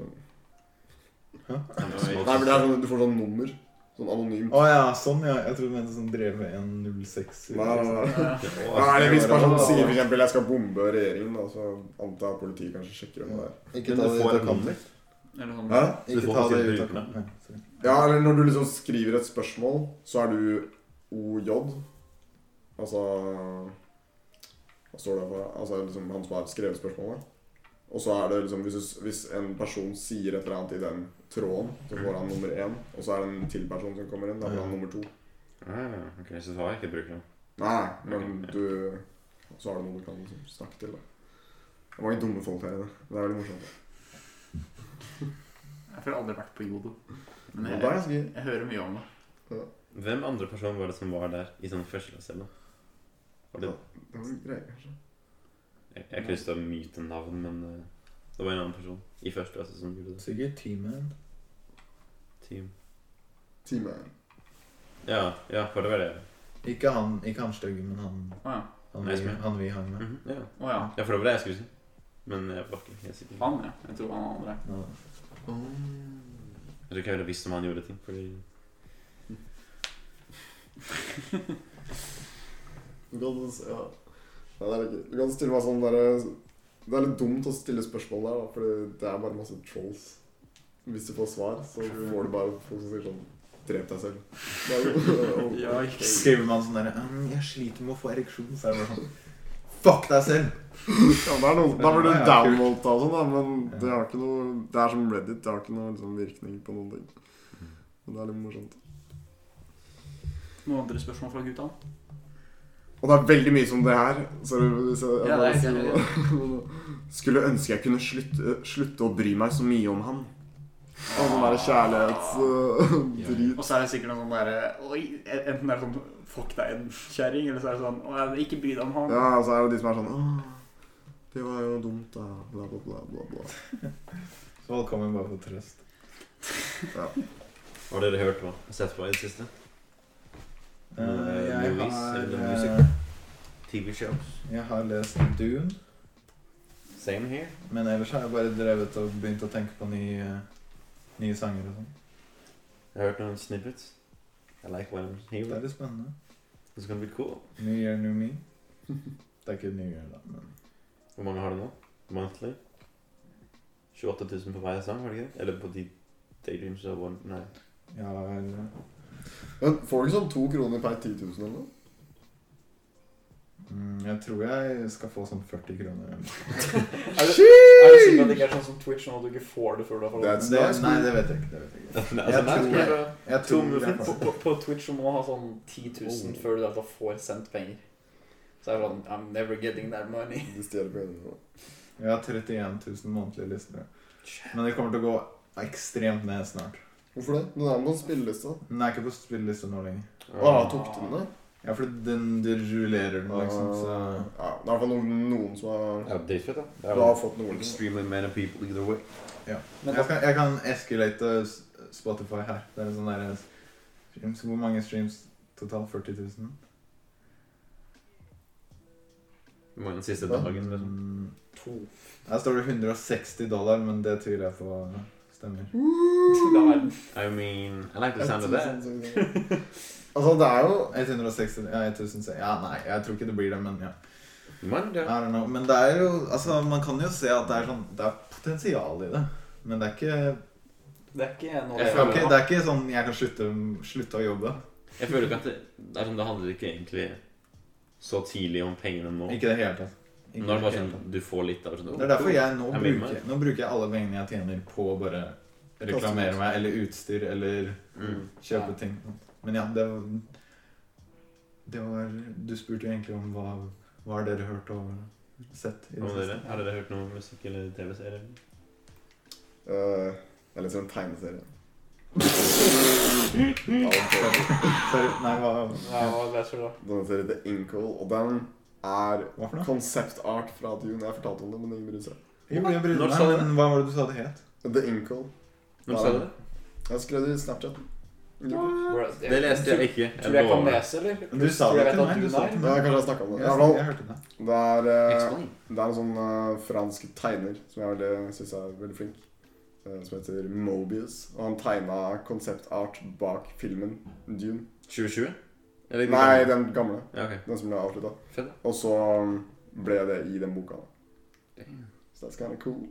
A: Nei,
D: nei, men det er sånn du får sånn nummer. Sånn anonymt.
B: Å ja, sånn ja. Jeg trodde du mente sånn drevet en 06.
D: Nei, nei, nei. Ja,
A: Åh,
D: eller hvis personen sier for eksempel, jeg skal bombe regjeringen, da, så antar jeg at politiet kanskje sjekker om det er
B: Ikke
A: Men
B: ta
A: du
B: det
A: får
B: ut av
A: en
B: kontekst.
E: Eller
A: Mm.
E: sånn.
D: Hæ?
A: Du får
B: Ikke ta
A: ikke
B: det ut
A: til å
B: av
A: bruke den.
B: kontekst. Nei, sorry.
D: Ja, eller når du liksom skriver et spørsmål, så er du OJ. Altså Hva står det for? Altså liksom han som har skrevet spørsmålet. Og så er det liksom hvis, du, hvis en person sier et eller annet i den tråden, så får han nummer én. Og så er det en til person som kommer inn. Da får han nummer to.
A: Ah, ok, Så har jeg ikke brukt den.
D: Nei, men du Så har du noen du kan liksom snakke til. Da. Det er mange dumme folk her inne. Det er veldig morsomt.
E: Jeg har aldri vært på Jodo. Men
D: Men det er
E: jeg,
D: ganske
E: jeg hører mye om det.
A: Hvem andre person var det som var der i sånn første klasse? eller? Var det,
D: det var greier, kanskje.
A: jeg, jeg har ikke lyst til å myte navn, men uh, det var en annen person i første klasse som gjorde det.
B: Sikkert T-Man.
A: Team.
D: Time.
A: Ja, ja, for det var det.
B: Ikke han, ikke han stygge, men han,
E: Å ja.
B: han,
A: Nei,
B: vi,
A: som jeg.
B: han vi hang med.
A: Mhm, ja.
E: Å ja.
A: ja, for det var det jeg skulle si. Men jeg var ikke helt sikker. Jeg
E: Han, ja. Jeg tror han andre.
B: Ja.
A: tror ikke jeg ville visst om han gjorde ting, fordi
D: Du kan, ja. Nei, det er ikke. Du kan stille meg sånn derre Det er litt dumt å stille spørsmål der, da, fordi det er bare masse trolls. Hvis du får svar, så får du bare folk som sier sånn Drep deg selv. Det er jo- [laughs]
C: Ja, ikke
D: Oh.
B: «Ah, Skriver man sånn derre «Mm, Jeg sliter med å få ereksjon, så er det bare sånn Fuck deg selv!
D: Ja, det er noe, da blir du
B: Ja, ja, kult.
D: downvolta og sånn, da, men
B: Ja.
D: det har ikke noe Det er som Reddit, det har ikke noe liksom, virkning på noen ting. Men det er litt morsomt.
E: Noen andre spørsmål fra gutta?
D: Og det er veldig mye som det her. Sorry hvis jeg, jeg
E: Ja,
D: bare
E: det er
D: sier
E: greit,
D: det. [laughs] Skulle ønske jeg kunne slutte, slutte å bry meg så mye om han. Og sånn derre øh, kjærlighetsdrit.
E: Og så er det sikkert noe sånn derre Oi, enten er det sånn Fuck deg, en kjerring, eller så er det sånn Å, jeg vil ikke bry deg om han. [laughs]
D: Ja, og så er det de som er sånn Åh, det var jo dumt, da. Bla, bla, bla, bla. bla.
B: Så folk kommer bare for trøst.
A: Har dere hørt hva? Sett på i det siste?
B: Eh,
A: Noen, eh,
B: jeg,
A: movies
B: har,
A: eller
B: eh,
A: music? TV-shows?
B: jeg har lest Dune,
A: Same here.
B: men ellers har jeg bare drevet og begynt å tenke på nye, nye sanger og sånn.
A: Jeg har hørt noen snippets. I like what I'm
B: Det er
A: hearing.
B: litt spennende.
A: It's gonna be cool.
B: New year, new me. Det er ikke new year, da, men
A: Hvor mange har du nå? Monthly? 28 000 på hver sang, var det ikke det? Eller på de daydreams og one... Nei. [laughs]
B: ja eller,
D: Men får du ikke sånn to kroner per 10 000 eller noe?
B: mm, Jeg tror jeg skal få sånn 40 kroner.
C: Er du, er du sikker at det ikke er sånn som Twitch, sånn at du ikke får det før du har
D: Det
C: fått
D: er-
C: det?
B: Det, nei, det vet jeg ikke. Det vet jeg ikke.
A: Altså,
B: Jeg
A: nei,
B: tror-
A: skulle jeg-
B: Jeg
A: To
B: tror jeg
A: muffins.
C: På,
B: får det.
C: på, på Twitch så må du ha sånn 10 000 før du i det hele tatt får sendt penger. Så er det sånn I'm never getting that money.
D: De stjeler pengene nå.
B: Jeg har 31 000 månedlige lister. Men det kommer til å gå ekstremt ned snart.
D: Hvorfor det? Den er med på en spilleliste.
B: Den er ikke på spilleliste nå lenger.
D: Ah, tok du den, da?
B: Ja, for den du rullerer den, liksom. Så
D: Ja, det er i hvert fall noen, noen som har,
A: Ja, dritfett, da. Det er
D: du har
A: jo
D: fått noe liksom.
A: extremely many people either way.
C: Men
B: jeg
C: da,
B: kan, jeg kan escalate uh, s- Spotify her. Det er sånn der streams. Hvor mange streams totalt? 40 000?
A: Hvor mange den siste dagen, liksom?
B: Mm,
C: to.
B: Her står det 160 dollar, men det tviler jeg på stemmer.
C: Mm. Det er
A: I mean, I like the sound
D: [laughs]
A: of that. [laughs]
D: altså, det er jo
B: 160 Ja, 1000 se- Ja, nei, jeg tror ikke det blir det, men ja.
A: Monday.
B: I don't know. Men det er jo Altså, man kan jo se at det er sånn Det er potensial i det. Men det er ikke
C: Det er ikke noe jeg
B: Det
A: Jeg
B: er
A: føler-
B: ikke,
C: føler
B: det er ikke sånn jeg kan slutte, slutte å jobbe.
A: Jeg føler ikke at det, det er sånn, det handler ikke egentlig så tidlig om pengene nå.
B: Ikke i det hele tatt. Ikke
A: Nå er det bare
B: i hele
A: sånn, du får litt av det sånn
B: tatt.
A: oh,
B: Det er derfor jeg nå
A: Jeg blir
B: bruker, nå bruker jeg alle pengene jeg tjener på å bare reklamere meg, eller utstyr, eller
A: mm.
B: kjøpe
C: Ja.
B: ting. Men ja, det var, det var Du spurte jo egentlig om hva, hva har dere hørt og sett i
A: Hva
B: det
A: med dere?
B: siste.
A: Har dere hørt noe musikk eller TV-serie?
D: eh, Det er litt som en
A: [laughs]
D: tegneserie.
B: Sorry, nei, hva,
C: Nei, hva leser du da?
D: Denne serien heter Inkle, og den er
B: hva for noe?
D: konseptart fra Dune. Jeg fortalte om det, men ingen bryr seg.
B: Jo, jeg brydde
A: Når
B: meg,
A: sa du
B: men hva var det du sa det het?
D: The Inkle.
A: Når sa du det?
D: Jeg skrev det i Snapchat.
C: Hvor-
A: Det leste jeg ikke.
C: Tror du jeg kan lese, eller?
B: Men Du sa
C: Tror
B: det
C: jeg vet
B: til
C: at
B: meg.
C: du
B: Du sa
C: nei?
B: det til
D: Ja,
B: meg.
D: kanskje jeg snakka om det. I
B: Jeg,
D: hvert fall,
B: jeg hørte det.
D: det er eh,
A: Explain.
D: Det er en sånn eh, fransk tegner som jeg veldig- synes er veldig flink, eh, som heter Mobius. Og han tegna konseptart bak filmen Dune.
A: 2020? Eller den
D: Nei,
A: gamle?
D: den gamle.
A: Ja, ok.
D: Den som ble avslutta.
A: Fett,
D: Og så um, ble det i den boka. da.
A: da.
D: Så that's kind of cool.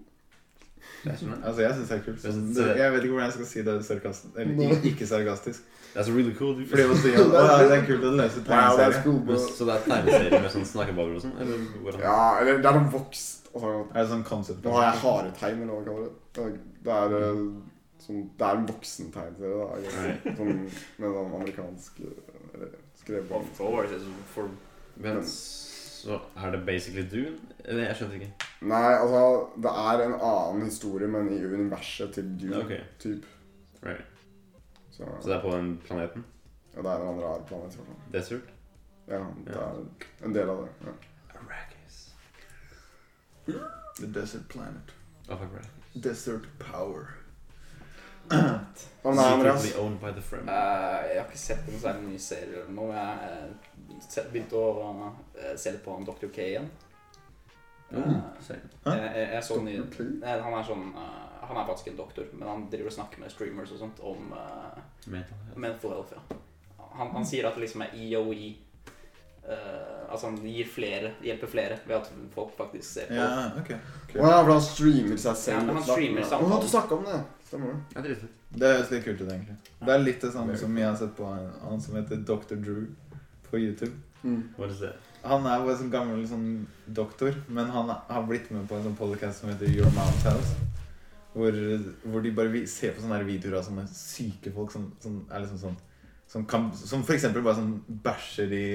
A: Det er sånn, da.
B: Altså, jeg syns det er kult.
A: Jeg synes
B: det,
A: det-
B: jeg vet ikke hvordan jeg skal si det sarkastisk. Eller
D: Nei.
B: i- ikke sarkastisk.
A: That's really cool. dude.
B: Fordi man
A: [laughs]
B: sier at «Å, ja, det er kult å lese
D: Wow, that's
B: tegneserier.
D: cool, bro.
A: Så det er tegneserie med sånn snakkebabler og sånn? Eller hvordan?
D: Ja, eller det er noe vokst. altså, Og så-
B: Er det sånn concept?
D: nå har jeg haretegn, eller hva man kaller det. Det er, eh, sånn, det er en voksen tegneserie, da. I guess. Sånn, med sånn amerikansk eh, eller, skrevet på engelsk.
A: Men så er det basically Dune? Eller, Jeg skjønte ikke.
D: Nei, altså, det er en annen historie, men i universet til Dune,
A: Ok.
D: typ.
A: Right.
D: Så,
A: Så det er på den planeten?
D: ja, det er en rar planet, i hvert fall.
A: Desert?
D: Ja, det er en del av det. Ja.
A: Arrakis.
B: The Desert Planet.
A: Oh, fuck, Arrakis.
B: Desert Power.
D: Ja, men nei, Andreas.
A: Secretly owned by the Fremen.
E: Eh, jeg har ikke sett noen særlig nye serier eller noe. Jeg eh, se- begynte å eh, se litt på han Dr. K igjen. Eh,
A: Mm, same.
E: jeg, jeg, Eh, jeg så ny,
D: Dr. K?
E: Nei, han er sånn eh, Han er faktisk en doktor, men han driver og snakker med streamers og sånt om eh,
A: Metal.
E: mental health. ja. Han, han sier at det liksom er EOE eh, Altså han gir flere, hjelper flere ved at folk faktisk ser på.
B: Ja, ok.
D: Å ja, for han streamer seg selv.
E: Ja, men han streamer
D: Å,
E: samtalen.
D: du snakket om det. Stemmer det.
A: Ja, dritfett.
B: Det høres litt kult ut, egentlig. Det er litt det samme som jeg har sett på han, han som heter Dr. Drew på YouTube.
D: Mm.
A: Hva er det?
B: Han er bare sånn gammel sånn doktor, men han har blitt med på en sånn podcast som heter Your Mom's House. Hvor, hvor de bare vi- ser på sånne her videoer av sånne syke folk som, som er liksom sånn Som, kan, som for eksempel bare sånn bæsjer i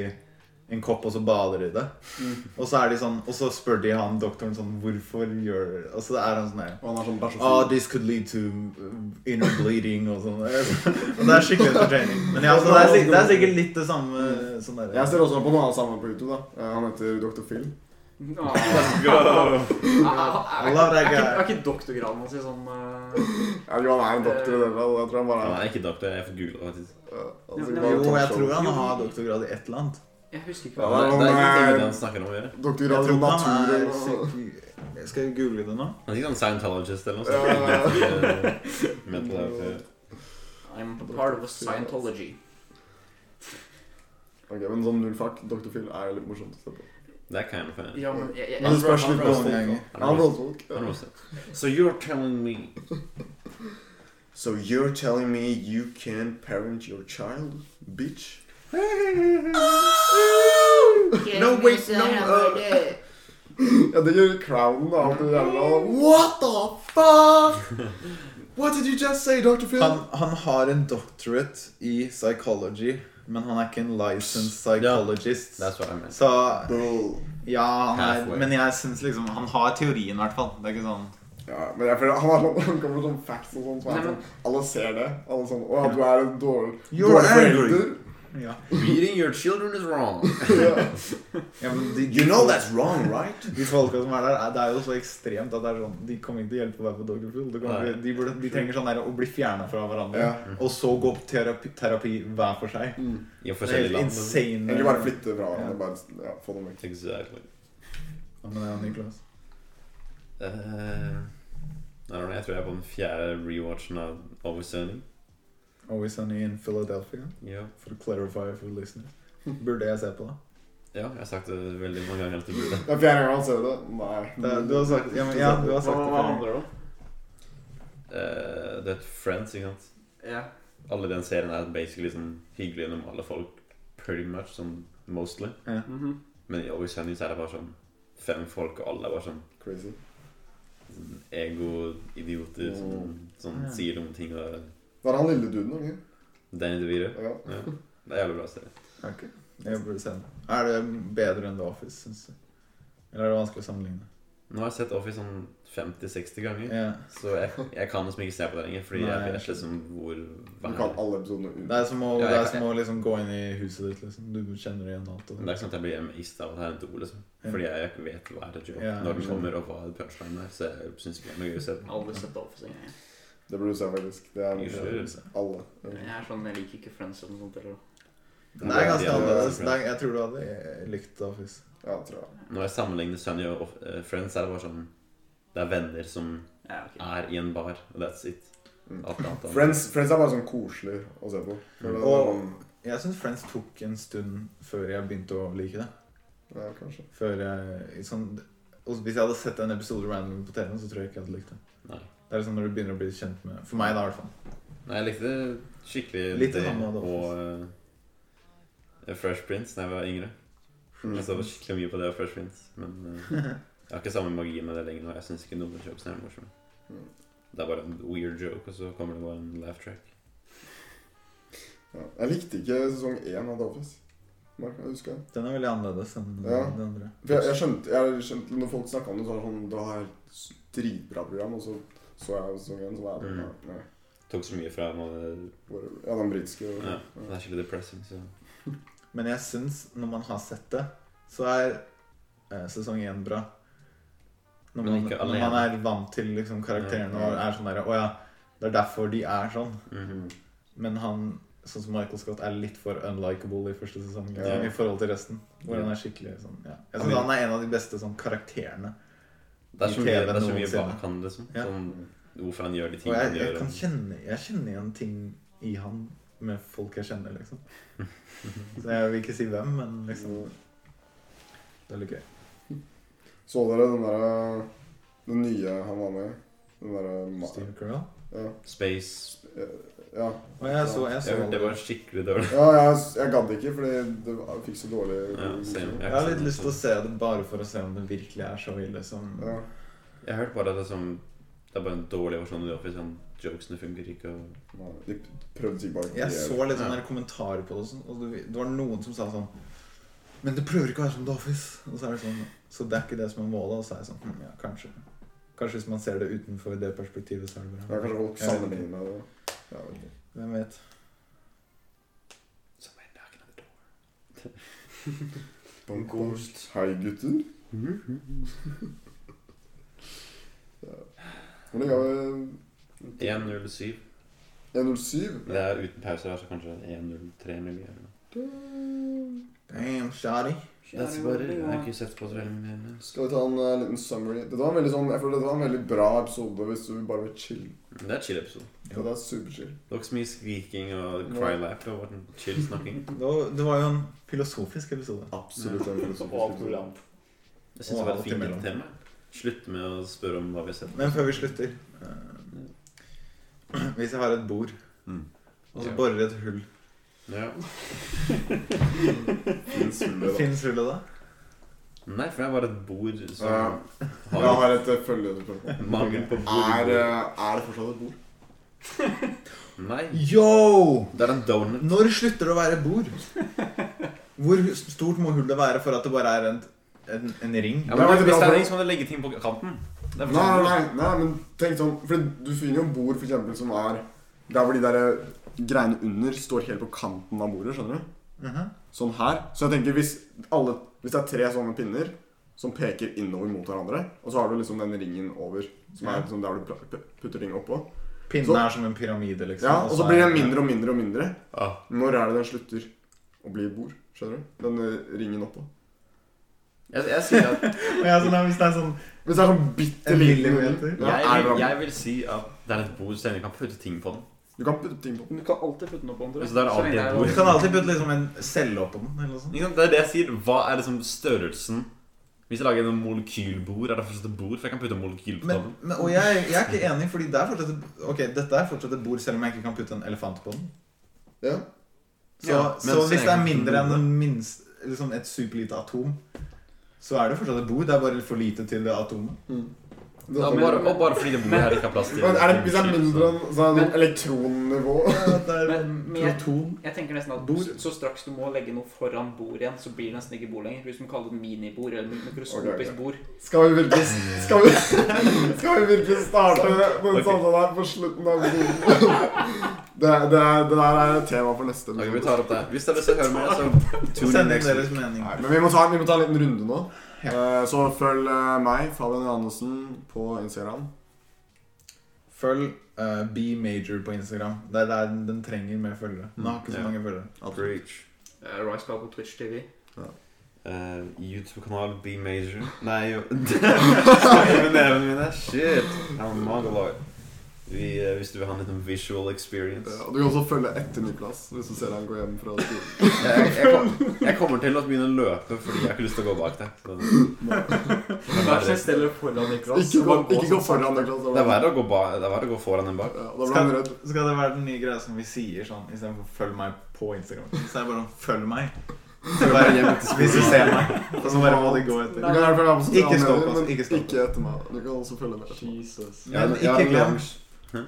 B: en kopp, og så bader de i det.
D: Mm.
B: Og så er de sånn Og så spør de han doktoren sånn Hvorfor gjør Og så er han sånn her
D: Og han er sånn bæsj
B: Oh,
D: og
B: this could lead to uh, inner bleeding og sånn. [laughs] Og det er skikkelig entertaining. Men ja, så det, er, sikk- det er sikkert litt det samme sånn der.
D: Jeg ser også på noe annet sammen på YouTube. da. Eh, Han heter Dr. Phil.
B: [laughs] I love that
E: Er ikke-
B: guy.
E: er ikke doktorgraden hans i sånn eh,
D: Ja, jo, han er en doktor i det hele tatt. Jeg tror han bare
A: Han er
D: er
A: ikke doktor, jeg får googla faktisk.
D: eh, han
E: Jo,
D: sikkert bare
B: Jo, jeg
D: talkshow.
B: tror han har doktorgrad i et eller annet.
E: Jeg husker ikke
A: Det
D: Ja,
E: hva
A: er, det er ikke
D: nei.
A: noe med det han snakker om eh, å gjøre.
D: Doktor
B: Jeg
D: av
B: tror han
D: natur
B: er
D: og
B: psyk- Skal vi google det nå?
A: Han er ikke sånn Scientologist eller
D: Ja, ja,
A: noe sånt. Mental health.
E: I'm part of a Scientology.
D: Ok, Men sånn null fart, Dr. Phil er jo litt morsomt å se på.
A: Det er kind of funny.
E: Ja, men jeg, jeg,
D: Men det
E: jeg,
D: spørs litt på
B: Han er
D: folk.
B: voldtekt.
D: da. Han er voldtekt.
A: Han er også- So you're telling me [laughs]
D: So you're telling me you can parent your child, bitch? no, wait, no, uh, Ja, det gjør crownen da, alt det jævla. What the fuck? What did you just say, Dr. Phil?
B: Han, han har en doctorate i psychology, men han er ikke en licensed psychologist.
A: That's what I meant.
B: Så
D: Bull.
B: ja, han er,
A: Halfway.
B: men jeg syns liksom Han har teorien, i hvert fall. Det er ikke sånn
D: Ja, men jeg føler han, har sånn- han kommer med sånn facts og sånn, så er
E: Nei,
D: det
E: men-
D: sånn, alle ser det. Alle sånn, åja, du er en dårlig,
B: You're
D: dårlig
B: angry. [laughs]
D: forelder.
B: Ja,
A: Beating your children is wrong.
D: Ja.
B: ja men de,
D: You know that's wrong, right?
B: De folka som er der, er- det er jo så ekstremt at det er sånn, de kommer ikke til å hjelpe å være på Doggerpool. De, kommer
A: Nei.
B: ikke- de, burde- de trenger sånn der å bli fjerna fra hverandre,
D: Ja.
B: og så gå på terapi, terapi hver for seg.
A: I
B: Det er
A: forskjellige
B: helt
A: land.
B: insane.
D: [laughs] Egentlig bare flytte fra
B: Ja.
D: hverandre, bare ja, få dem vekk.
A: Exactly.
B: Ja, men det er jo Niklas.
A: Eh, I don't know, jeg tror jeg er på den fjerde rewatchen av Oversunning.
B: Always Sunny in Philadelphia,
A: Ja.
B: for to clarify for [laughs] listeners. Burde jeg se på det?
A: ja, jeg har sagt det veldig mange ganger. at du burde.
D: Det er fjerde gang han ser det. Nei.
B: det er- du har sagt, ja, men, ja, du har sagt det før.
E: det om?
A: Eh, Du vet Friends, ikke sant?
E: Ja.
A: Alle i den serien er basically sånn hyggelige, normale folk. Pretty much, sånn mostly.
E: mhm.
A: Men i Oversunning så er det bare sånn fem folk, og alle er bare sånn
D: Crazy.
A: sånn ego-idioter
D: Mm.
A: som sånn,
B: Ja.
A: sier dumme ting. og
D: Det er han lille duden, ikke?
A: Danny DeVito.
D: Ja.
A: Ja. Det er jævlig bra serie.
B: Ok, jeg burde se den. Er det bedre enn The Office, syns du? Eller er det vanskelig å sammenligne?
A: Nå har jeg sett Office sånn 50-60 ganger.
B: Ja.
A: Så jeg, jeg kan liksom ikke se på det lenger, fordi
B: Nei.
A: jeg vet liksom hvor
D: Du kan alle episodene ut.
B: Det er som å,
A: Ja, jeg
B: det er
A: kan-
B: som å liksom gå inn i huset ditt, liksom. Du kjenner igjen alt. Og
A: Men Det er ikke sånn at jeg blir amazed av at det er en do, liksom.
B: Ja.
A: Fordi jeg ikke vet hva er et joke
B: Ja,
A: når den
B: jeg
A: kommer, og hva punchlinen er. Så jeg syns ikke det er noe gøy å se på.
E: Aldri sett Office engang. jeg.
D: Det burde du se, faktisk. Det er
A: Ikke sant?
D: alle.
E: Jeg
D: Ja.
E: er sånn, jeg liker ikke Friends eller noe sånt. Eller.
B: Det er ganske
A: Ja, det er-
B: annerledes. Det er, jeg tror du hadde eh, likt The Office.
D: ja, tror jeg.
A: Når jeg sammenligner Sunny og eh, Friends, er det bare sånn Det er venner som
E: Ja, ok.
A: er i en bar, og that's it.
D: Mm.
A: Alt annet er-
D: Friends, Friends er bare sånn koselig å se på. For det er
B: Og-
D: sånn-
B: Jeg syns Friends tok en stund før jeg begynte å like det.
D: ja, kanskje.
B: Før jeg, sånn, og Hvis jeg hadde sett en episode random på TV, så tror jeg ikke jeg hadde likt det.
A: Nei.
B: Det er liksom når du begynner å bli kjent med For meg, da, i hvert fall.
A: Nei, jeg likte skikkelig
B: Litt
A: det
B: det samme, da,
A: og eh, Fresh Prince da jeg var yngre. Jeg så skikkelig mye på det og Fresh Prince, men eh,
B: [laughs]
A: jeg har ikke samme magi med det lenger nå. Jeg syns ikke noen av jokesene er morsomme.
D: Mm.
A: Det er bare en weird joke, og så kommer det bare en laugh track.
D: Ja. Jeg likte ikke sesong én av The Office. Mark, jeg husker jeg.
B: Den er veldig annerledes enn
D: Ja.
B: de andre.
D: For jeg, jeg skjønte, jeg skjønte Når folk snakka om det, så var det sånn Det var et dritbra program, og så så jeg sesong én, så var jeg sånn
A: Mm.
D: nei, nei,
A: Tok så mye fra meg.
D: whatever. Ja, den britiske
A: Ja,
D: ja.
A: det er skikkelig depressing, så
B: Men jeg syns, når man har sett det, så er eh, sesong én bra. Når
A: Men
B: man,
A: ikke
B: når man er vant til liksom, karakterene
D: Ja.
B: og er sånn derre Å ja, det er derfor de er sånn.
A: mhm.
B: Men han, sånn som Michael Scott, er litt for unlikable i første sesong. liksom,
D: Ja.
B: I forhold til resten. Hvor han er skikkelig sånn ja. Jeg synes han er en av de beste sånn karakterene.
A: Det er så
B: I
A: mye,
B: TV
A: det er så mye
B: noensinne.
A: bak han, liksom.
B: Ja.
A: Sånn, hvorfor han gjør de
B: Og
A: tingene
B: jeg,
A: han
B: jeg
A: gjør.
B: kan kjenne Jeg kjenner igjen ting i han med folk jeg kjenner,
A: [laughs]
B: liksom. Så jeg vil ikke si hvem, men liksom Det er litt gøy.
D: Så dere den derre Den nye han var med i? Den derre Ma-
B: Steve Carell?
D: Ja.
A: Space
D: ja.
B: Og jeg så, Altså, jeg så
A: Jeg hørte det var skikkelig dårlig.
D: ja jeg, jeg gadd ikke, fordi det var- jeg fikk så dårlig
A: Ja, same.
B: Jeg har litt lyst
A: sånn-
B: til å se det bare for å se om det virkelig er så ille som
D: Ja.
A: Jeg hørte bare at det er sånn Det er bare en dårlig versjon av The Office. Sånn, jokesene funker ikke. Og...
D: Nei, De prøvde sikkert bare å
B: Jeg
D: kopiere.
B: så litt
A: Ja.
B: sånne der kommentarer på det, og sånn, og det det var noen som sa sånn Men det prøver ikke å være som The Office. Og så er det sånn Så det er ikke det som er målet. Og så er jeg sånn hm, Ja, kanskje. Kanskje hvis man ser det utenfor det perspektivet, så er det
D: Ja,
B: bra.
D: kanskje folk
B: Jeg vet ikke.
D: sammenligner det. Jeg vet ikke.
B: Hvem vet.
D: Bonk, bonk. Hei, gutter. Ja. Hvor lenge har vi
A: 1.07.
D: 1.07?
A: Det er uten pause her, så kanskje 1.03 miljø eller noe.
B: Damn, shoddy.
A: That's about it. Jeg har ikke sett på så veldig mye. mer.
D: Skal vi ta en eh, liten summary? Dette var en veldig sånn, jeg føler dette var en veldig bra episode hvis du bare vil chill.
A: Men Det er en chill episode.
D: Dette er superchill.
A: Det var ikke så mye skriking og cry laugh. Det var bare en chill snakking.
B: Det var, det var jo en filosofisk episode.
D: Absolutt en sånn
C: Og
D: filosofisk episode.
C: program.
A: Jeg synes det
B: Og
A: var et
B: alt
A: fint
B: imellom.
A: tema. Slutte med å spørre om hva vi har sett.
B: Men før vi slutter eh, [clears throat] Hvis jeg har et bord,
A: Mm.
B: og så
A: Ja.
B: borer et hull
A: Ja.
D: Fins hullet, da.
B: Fins hullet da?
A: Nei, for det er bare et bord som
D: Ja. Jeg
A: har
D: har et eh, følgespørsmål.
A: mangel på
D: Er,
A: bord.
D: eh, er det fortsatt et bord?
A: Nei.
B: Yo!
A: Det er en donut.
B: Når slutter det å være et bord? Hvor stort må hullet være for at det bare er en, en, en ring?
A: Ja,
D: Det er
A: men
D: veldig
A: hvis det
D: bra
A: er
D: for-
A: ingen som hadde legget ting på kanten Det er
D: Nei,
A: for
D: nei,
A: sånn-
D: nei, nei, men tenk sånn For du finner jo bord for eksempel, som er Der hvor de der eh, greiene under står helt på kanten av bordet. skjønner du?
B: Mhm.
D: Sånn her. Så jeg tenker hvis, alle, hvis det er tre sånne pinner som peker innover mot hverandre, og så har du liksom den ringen over, som er liksom der du pla- pu- putter ting oppå
B: Pinnen
D: Så-
B: er som en pyramide, liksom.
D: Ja, Og så
B: er-
D: blir den mindre og mindre og mindre.
A: Ah.
D: Når er det den slutter å bli et bord? Skjønner du? Den eh, ringen oppå.
A: Jeg, jeg sier at
B: Men jeg er sånn, her, Hvis det er sånn
D: Hvis det er sånn bitte
B: En
D: liten
B: millimeter?
D: Ja,
A: jeg,
D: er
A: vil,
D: det
A: jeg vil si at det er et bord så lenge vi kan putte ting på den.
D: Du kan putte ting på den.
C: Men du kan alltid putte den opp andre.
A: Altså, det er
C: Så lenge
A: alltid
C: det
A: et
C: er
A: bord.
B: Du kan alltid putte liksom en celle oppå den. eller noe sånt.
A: Ikke sant? Det er det jeg sier. Hva er liksom størrelsen Hvis jeg lager en molekylbord, er det fortsatt et bord? For jeg kan putte molekyl på
B: Men,
A: toppen.
B: men, og jeg, jeg er ikke enig, fordi det er fortsatt et- Ok, dette er fortsatt et bord, selv om jeg ikke kan putte en elefant på den.
D: Ja.
B: Så, så,
A: Ja, men så
B: hvis det er
A: lenge den
B: mindre enn
A: bor
B: en minst, liksom et superlite atom, så er det fortsatt et bord. Det er bare for lite til det atomet.
A: Ja,
D: Det-
A: bare, og bare fordi det bordet her ikke har plass til
D: Men er det, hvis det er
A: molekyl,
D: mindre
A: så-
D: enn så er det
C: Men-
D: sånn elektronnivå
B: Ja, det er
C: Men, men jeg,
B: proton.
C: jeg tenker nesten at
B: Bord.
C: så straks du må legge noe foran bord igjen, så blir det nesten ikke bord lenger. Hvis du må kalle det minibord eller mikroskopisk
D: Ok, ok.
C: bord.
D: [laughs] Skal vi virkelig Skal vi, [laughs] skal vi virkelig starte med den
A: Ok.
D: samtalen her på slutten av episoden? [laughs] Det, det, er- det der er et tema for neste
A: Ok, vi
D: episode.
A: tar opp det her. Hvis dere vil høre mer, så tune in
B: Send inn
A: next week.
B: deres mening.
D: Nei, men vi må, ta, vi må ta en liten runde nå. Eh, Så følg eh, meg, Fabian Johannessen, på Instagram.
B: Følg eh, B Major på Instagram. Det er der den den trenger mer følgere. Den har ikke så
A: Ja.
B: mange følgere.
D: Absolutt.
A: Preach.
C: Uh, Riceball på Twitch TV.
A: Eh, YouTube-kanal B Major Nei, jo [laughs] Snakker med nevene mine. Shit. Jeg har magelag. Vi, eh, Hvis du vil ha en liten visual experience.
D: Eh, Og du kan også følge etter Niklas hvis du ser han gå hjem fra skolen.
A: Jeg, jeg, kom, jeg kommer til å begynne å løpe fordi jeg har ikke lyst til å gå bak deg.
B: [laughs]
A: Så Det er
C: Vær så
A: verre.
C: snill foran Niklas.
D: Ikke
C: så
D: gå,
C: bare
D: ikke gå
C: som
D: foran Niklas. da
A: Det er
D: blir-
A: verre å gå, ba det er verre å gå foran enn bak.
D: Ja, Da blir
B: Skal,
D: han redd.
B: skal det være den nye greia som vi sier sånn istedenfor 'følg meg på Instagram'? Så er det bare sånn 'følg meg'. Så
A: Følg meg hjem
B: bare,
A: til skolen.
B: hvis du ser meg. Og så bare må det gå
D: Du
B: etter.
D: kan i hvert fall være på sosiale
B: Ikke stopp
D: medier,
B: oss,
D: men
B: ikke stopp
D: Ikke etter meg. Du kan også følge med. etter meg.
C: Jesus.
A: Ja,
B: Men
A: ja,
B: ikke glem
A: oransje.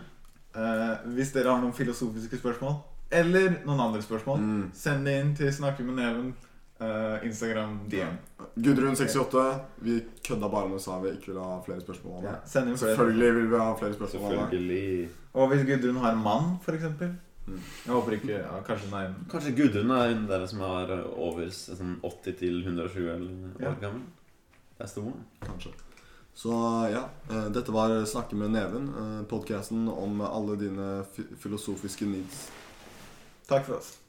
B: eh, Hvis dere har noen filosofiske spørsmål, eller noen andre spørsmål,
D: Mm.
B: send det inn til Snakke med neven, eh, Instagram, DM.
D: Gudrun68, vi kødda bare når vi sa vi ikke ville ha flere spørsmål. om det.
B: Ja, send inn flere.
D: Selvfølgelig vil vi ha flere spørsmål. om det.
A: Selvfølgelig.
B: Og hvis Gudrun har en mann, for eksempel
D: Mm.
B: Jeg håper ikke ja, Kanskje hun er en
A: Kanskje Gudrun er hun der som er over sånn 80 til 120 eller
B: Ja.
A: år gammel? Det er stor.
D: Kanskje. Så ja, eh, dette var Snakke med neven, eh, podkasten om alle dine fi- filosofiske needs.
B: Takk for oss.